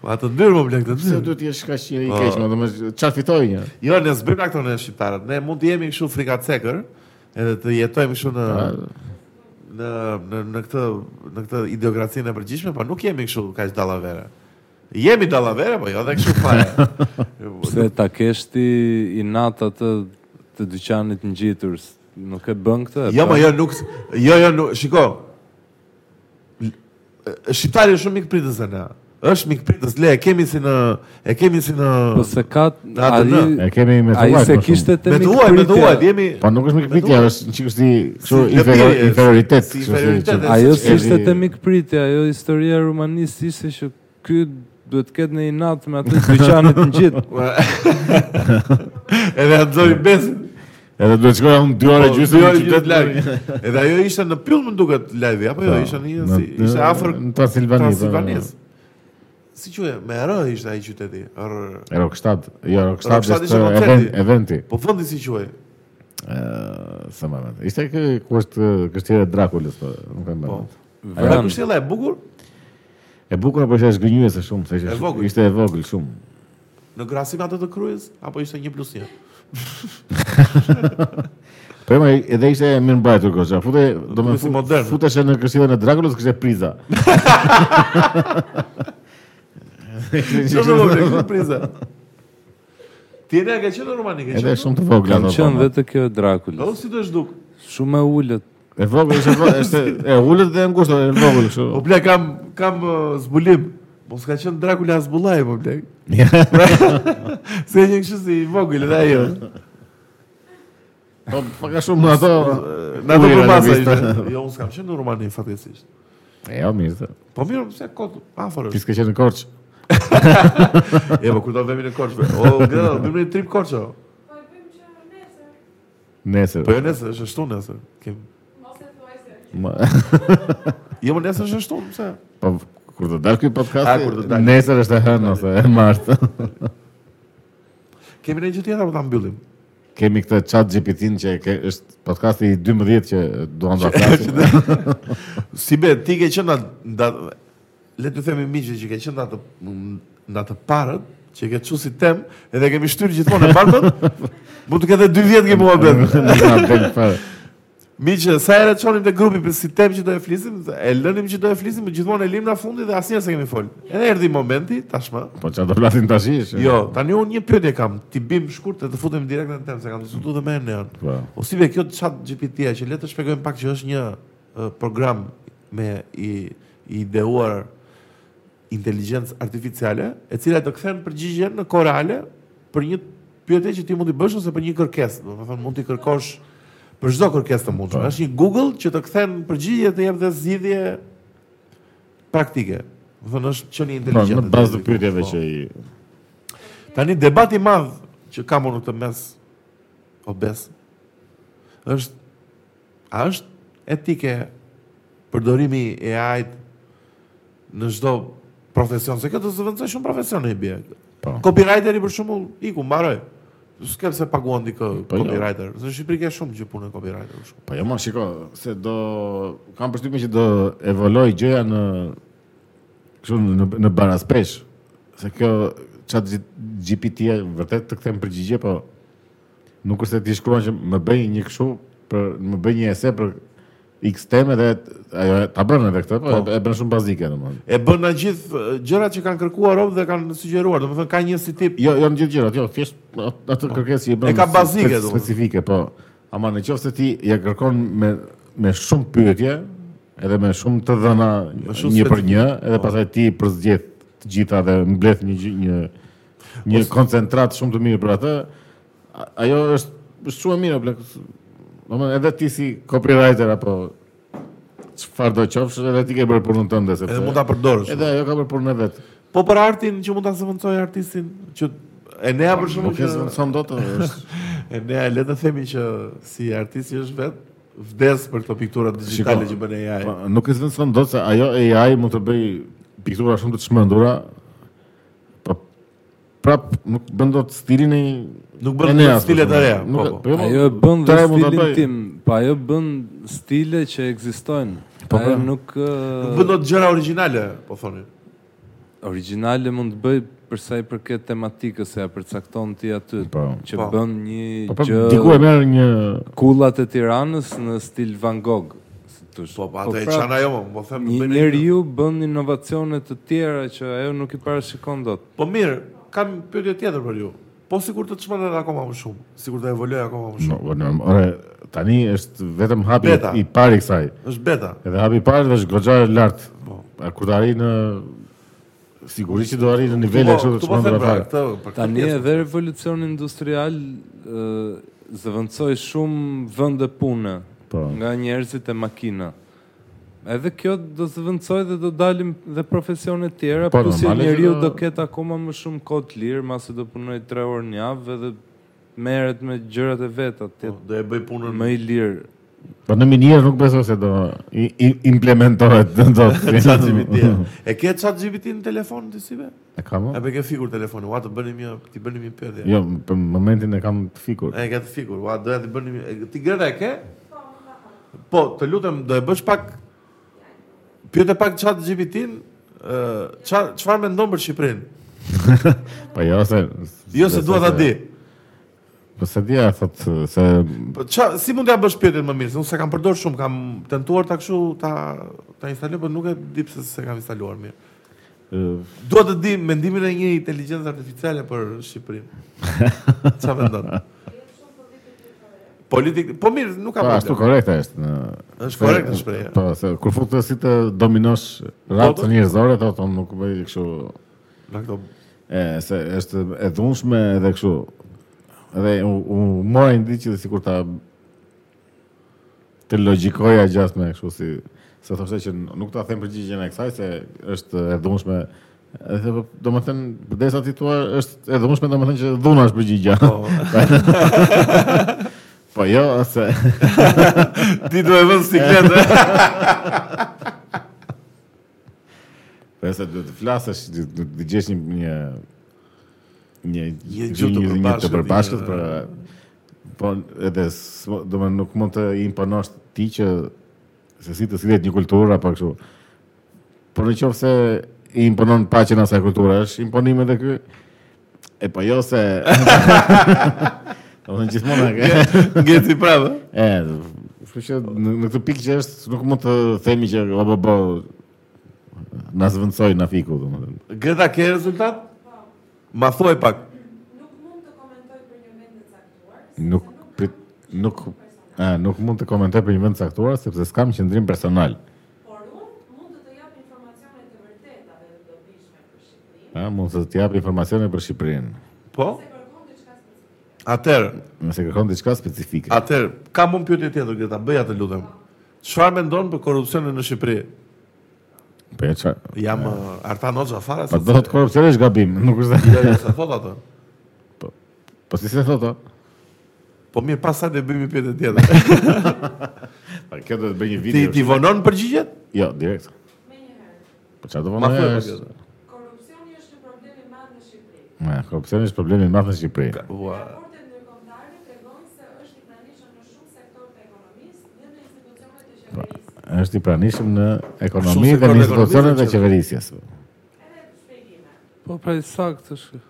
A: Ma të ndyrë më blek të
B: Pse
A: ndyrë.
B: duhet të jesh kaq i
A: Po.
B: keq, më domethënë çfarë fitoi një?
A: Jo, ne s'bëjmë na këto ne shqiptarët. Ne mund të jemi kështu frikacekër, edhe të jetojmë kështu
B: Pra,
A: në
C: Pra-
A: në në në këtë në këtë ideokracinë e përgjithshme, po nuk jemi kështu kaq dallavera. Jemi dallavera, po jo edhe kështu fare.
C: Pse ta kesh ti i natë atë të dyqanit në gjitur, s- nuk e pra- bën këtë?
A: jo, ma jo nuk jo jo nuk, shiko. L- Shqiptari është shumë mikpritës e na. Është mikpritës, le e kemi si në e kemi si në
C: Po se ka...
A: Në atë
C: ai-
A: në.
B: E kemi me
C: Ai
B: thuaj,
C: se
B: po shumë.
C: kishte të
A: me të huaj, me të huaj, jemi
B: Po nuk është mikpritja,
A: Vetëm-
B: është çiku si kështu
A: Si
B: inferior,
A: lëpirje,
B: inferioritet,
A: si
B: kështu
A: inferioritet,
B: si-
A: e-
C: Ajo
A: Erdhi-
C: si jo ishte të mikpritja, ajo jo historia e Rumanisë ishte që ky duhet të ketë në inat me atë dyqanit në gjithë.
A: edhe Anzori Besin.
B: Edhe duhet shkoja unë 2
A: Po,
B: orë jo, gjysmë
A: dy
B: në
A: orë
B: qytet
A: gjysmë live. Edhe ajo ishte në pyll më duket live apo jo,
B: Po,
A: ishte në
B: në-
A: si, ishte
B: në-
A: afër
B: në Transilvani, po.
A: Transilvanisë. Si quhet? Me R ishte ai qyteti. R.
B: Rock 7, jo Rock 7
A: Rock 7
B: është
A: ishte koncerti.
B: ε, event, Ε, eventi.
A: Po vendi si quhej?
B: Ë, sa më vjen. Ishte kë ku është ë, kështjera e Drakulës, po, nuk e
A: Po.
B: mbaj.
A: Era
C: Vran,
A: kushtjella e bukur
B: E bukur apo ishte zgënjyese shumë, se ishte
A: E vogël.
B: shumë- ishte e vogël shumë.
A: në krahasim atë të kryes apo ishte 1 plus 1?
B: Po më edhe ishte mirë mbajtur goxha. Fute, do
A: duket
B: më
A: si modern.
B: futeshe në kështjellën e Drakulës, kishte priza.
A: Jo, më vjen priza. Ti ne ke qenë në Rumani, ke
B: Edhe
A: qenë?
B: shumë të vogla
C: kam
B: ato, po,
C: qenë
B: ma.
C: vetë kjo e
A: Po
B: Oh.
C: Drakulës.
A: si do të zhduk?
C: Shumë e ullët.
B: E vogël është e vogël, është e ulët dhe e ngushtë, e vogël kështu.
A: Po ble kam kam ë, zbulim. Mos ka qenë Dracula as bullaj po ble. Se një kështu si i vogël edhe ajo.
B: Po pak a shumë në ato.
A: Na do
B: ujëra
A: përpasa
B: në vista.
A: ishte. Jo, unë s'kam qenë në Rumani fatkeqësisht.
B: E jo mirë. se.
A: Po mirë, pse kot afër
B: Ti
A: është.
B: s'ke qenë në Korçë.
A: E Oh, po kur do vemi në Korçë. O, gjallë, bëjmë një trip Korçë. o.
D: Po e bëjmë që nesër,
B: Nesër.
A: Po jo nesër, është ashtu nesër. Kem.
D: mos e thuaj se.
B: Ma-
A: Jo, më nesër është ashtu, pse?
B: Po kur të dalë ky
A: A,
B: podcast,
A: kur të dalë.
B: nesër është e hënë ose e martë.
A: Kemi një gjë tjetër apo ta mbyllim?
B: Kemi këtë chat GPT-n që ke, është podcasti i 12 që duan ta flasim.
A: Si be, ti ke qenë atë nda- le të themi miqve që ke qenë atë në atë parët, që ke çu si tem, edhe kemi shtyr gjithmonë e bardhën. Mund të ketë 2 vjet që muhabet.
B: Nuk na del fare.
A: Miqë, sa herë çonim te grupi për si tem që do e flisim, e lënim që do e flisim, por gjithmonë e lim në fundi dhe asnjëherë s'e kemi fol. Edhe erdhi momenti tashmë.
B: Po çfarë do flasim tash? është-
A: Jo, tani unë një pyetje kam, ti bim shkurt e të futem direkt në temë, se kam diskutuar dhe me Eneon.
B: Po.
A: O si be kjo chat GPT-a që le të shpjegojmë pak që është një ë, program me i, i ideuar inteligjencë artificiale, e cila të kthen përgjigjen në kohë reale për një pyetje që ti mund t'i bësh ose për një kërkesë, domethënë mund t'i kërkosh për çdo kërkesë të
B: Po.
A: mundshme. Është një Google që të kthen përgjigje të jep dhe zgjidhje praktike. Do thënë është që një
B: Po,
A: inteligjent.
B: në bazë të pyetjeve
A: po.
B: që i
A: Tani debati i madh që kam unë në këtë mes obes është a është etike përdorimi i AI -t në çdo profesion, se këtë zëvendësoj shumë profesione i bie.
B: Po.
A: Copywriteri për shembull iku mbaroi. S'kem se paguan dikë
B: Po, jo.
A: copywriter. Në Shqipëri ka shumë që punën copywriter për shembull.
B: Po jo, ma shiko, se do kam përshtypjen që do evoloj gjëja në kështu në në barazpesh. Se kjo chat GPT -ja vërtet të kthem përgjigje, po nuk është se ti shkruan që më bëj një kështu për më bëj një ese për X teme dhe t- ajo ta bën edhe këtë, po e- e bën shumë bazike domethënë.
A: E bën na gjithë eh, gjërat që kanë kërkuar rob dhe kanë sugjeruar, domethënë ka një si tip.
B: Jo, jo në gjithë gjërat, jo, thjesht at- atë kërkesë që i bën.
A: E ka
B: spe-
A: bazike, domethënë.
B: specifike, po. Ama në qoftë se ti ja kërkon me me shumë pyetje, edhe me shumë të dhëna
A: shumë Po.
B: një për
A: specifike,
B: një, edhe pastaj ti përzgjedh të gjitha dhe mbledh një gjë- një një koncentrat shumë të mirë për atë. a- Ajo është është shumë e mirë, blek. Domethënë edhe ti si copywriter apo çfarë do qofsh, edhe ti ke bërë punën tënde sepse.
A: Edhe mund ta përdorësh.
B: Edhe ajo ka bërë punën e vet.
A: Po për artin që mund ta zëvendësoj artistin që e nea për
B: Nuk
A: shkakun
B: e
A: që
B: zëvendëson dot, është
A: e nea le të themi që si artisti është vet vdes për këto piktura digjitale
B: Shiko,
A: që bën AI.
B: Po, Nuk e zënë dot se ajo AI mund të bëj piktura shumë të çmendura. Po prap nuk bën dot stilin e
A: Nuk bën
B: e neas,
A: stile
B: për
A: të reja,
B: shembull. Nuk-
A: po, po.
B: jo,
C: Ajo e bën
B: të
C: dhe
B: reja mund ta
C: stilin
B: bëj.
C: tim, pa ajo bën stile që ekzistojnë.
B: Po,
C: Po ajo
B: po.
C: nuk
A: Nuk
C: ë,
A: bën dot gjëra origjinale, po thoni.
C: origjinale mund të bëj për sa i përket tematikës se ja përcakton ti aty,
B: Po.
C: që
A: Po.
C: bën një
B: Po prap
C: gjë
B: diku e merr një
C: kullat e Tiranës në stil Van Gogh. si thosh.
A: Po pa atë e
B: pra,
C: prap,
A: çan ajo, mo, po them
C: pra, Një
A: bëjnë një-
C: njeriu bën inovacione të tjera që ajo nuk i parashikon dot.
A: Po mirë, kam pyetje tjetër për ju. Po sikur të çmendet akoma më shumë, sikur të evoloj akoma më
B: no,
A: shumë.
B: po, norm- ore, tani është vetëm hapi
A: Beta.
B: i parë i kësaj.
A: Është beta.
B: Edhe hapi i parë është goxha e lartë.
A: Po.
B: A Kur të arri në sigurisht që do arri në nivele
A: Po,
B: kështu të
A: tu po them
B: çmendura
A: pra
B: fare.
A: këtë, për këtë
C: Tani
A: pjesë.
C: edhe revolucioni industrial ë zëvendësoi shumë vende pune
B: Po.
C: nga njerëzit e makina. Edhe kjo do zëvendësoj dhe do dalim dhe profesione tjera,
B: Po,
C: po, plus
B: normale që
C: njeriu
B: do-
C: do ketë akoma më shumë kohë të lirë, masi do punoj 3 orë në javë dhe merret me gjërat e veta, të
A: Po,
C: jetë
A: do e bëj punën
C: më i lirë.
B: Po në minierë nuk besoj se do i, i, implementohet dot.
A: ChatGPT. E ke ChatGPT në telefon ti si be?
B: E kam. o?
A: E be ke fikur telefonin, ua të bënim një, ti bënim një pyetje.
B: Po. Jo, për momentin e kam të fikur.
A: E ke të fikur, ua doja të bënim një, e- ti greta e ke? Po, të lutem, do e bësh pak pyete pak ChatGPT-n, ë ça- çfarë mendon për Shqipërinë?
B: Po jo se
A: Jo se dua ta di.
B: Po se dia thot se
A: Po ça si mund t'ja bësh pyetjen më mirë? Se unë se kam përdor shumë, kam tentuar ta kështu ta ta instaloj, por nuk e di pse se kam instaluar mirë.
B: ë,
A: Dua të di mendimin e një inteligjencë artificiale për Shqipërinë. Çfarë mendon? Politik, po mirë, nuk ka
B: po ashtu
A: problem.
B: korrekte është në
A: Është
B: se-
A: korrekte shprehja.
B: Po se kur futet si të dominosh
A: Po, po.
B: racën njerëzore thot unë nuk bëj kështu
A: Nga këto
B: e se është e dhunshme edhe kështu. Edhe u, u mora një ditë që dhe sikur ta të logjikoja gjatë me kështu si se thoshte që nuk ta them përgjigjen e kësaj se është e dhunshme. Edhe po, domethënë derisa ti thua është e dhunshme domethënë që dhuna është përgjigja.
A: Po.
B: Po jo, se
A: Ti do e vën sikletë.
B: Përse duhet të flasësh, duhet të- të gjesh një një një
A: Një gjuhë të
B: një- një të
A: përbashkët,
B: përbashkët
A: një-
B: për po edhe s'mo- do më nuk mund të i imponosh ti që se si të sillet një kulturë apo kështu. Por në qoftë se i imponon paqen asaj kulture, është imponim edhe ky. E po jo se Do të thënë gjithmonë e
A: Jo,
B: ke.
A: Gjeti prapë.
B: E, kështu që në, në këtë pikë që është nuk mund të themi që o bo bo na zvendësoi na fiku domethënë.
A: Greta ke rezultat? Ma thuaj pak.
D: Nuk mund të komentoj për një vend të caktuar,
B: Nuk prit, nuk e, nuk mund të komentoj për një vend caktuar sepse s'kam qendrim personal.
D: por unë mund të të jap informacione të vërteta dhe të dobishme për Shqipërinë,
B: Ë, mund të të jap informacione për Shqipërinë.
A: Po?
D: se kërkon diçka
A: Atëherë,
B: Nëse kërkon diçka specifike.
D: specifike.
A: atëherë kam unë pyetje tjetër Greta, bëj atë lutem. Çfarë mendon për korrupsionin në Shqipëri?
B: Po ja ça.
A: Jam uh, Artan Hoxha fare
B: Po do të korrupsion është gabim, nuk është.
A: Jo, jo, sa thot atë.
B: Po si se thotë?
A: Po mirë, pastaj do bëjmë një pyetje tjetër.
B: Po kjo do të bëj një
A: Ti
B: video.
A: ti vonon përgjigjet?
B: Jo, direkt.
D: Me njëherë,
B: Po çfarë do
A: Ma thuaj
B: vonoja
A: pak
B: është?
A: tjetër.
D: korrupsioni është një problem i madh në Shqipëri.
B: Ma, korrupsioni është problemi i madh në Shqipëri.
A: Ua.
D: Raportet ndërkombëtare tregojnë se është i pranishëm në shumë sektor të ekonomisë dhe në institucionet e qeverisë.
B: është i pranishëm në
A: Shumë
B: ekonomi
A: sektor
B: dhe
A: dhe
B: në institucionet e
A: ekonomisë,
B: qeverisjes.
D: Edhe shpjegime.
C: Po pra i sakt është.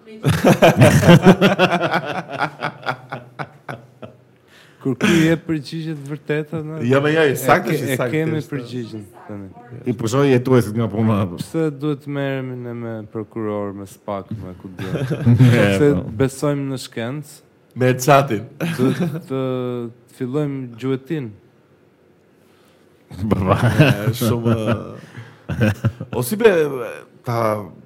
C: Kur ku je përgjigjet vërteta na.
A: Jo, me ja, i sakt
C: E ke-
A: është, i
C: E
A: sakt
C: kemi
A: është.
C: përgjigjen tani.
B: I pushoj jetuesit nga puna. apo?
C: Pse duhet merremi ne me prokuror, me spak, me ku do?
B: E,
C: Sepse
B: po.
C: besojmë në shkencë,
A: Me çatin.
C: duhet të fillojmë gjuetin.
B: Baba.
A: Është shumë ë, O si be ta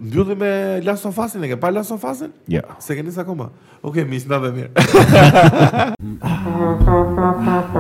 A: mbylli me Last of Us-in, e ke pa Last of Us-in?
B: Ja.
A: Se keni sa akoma. Okej, okay, miq, na dhe mirë.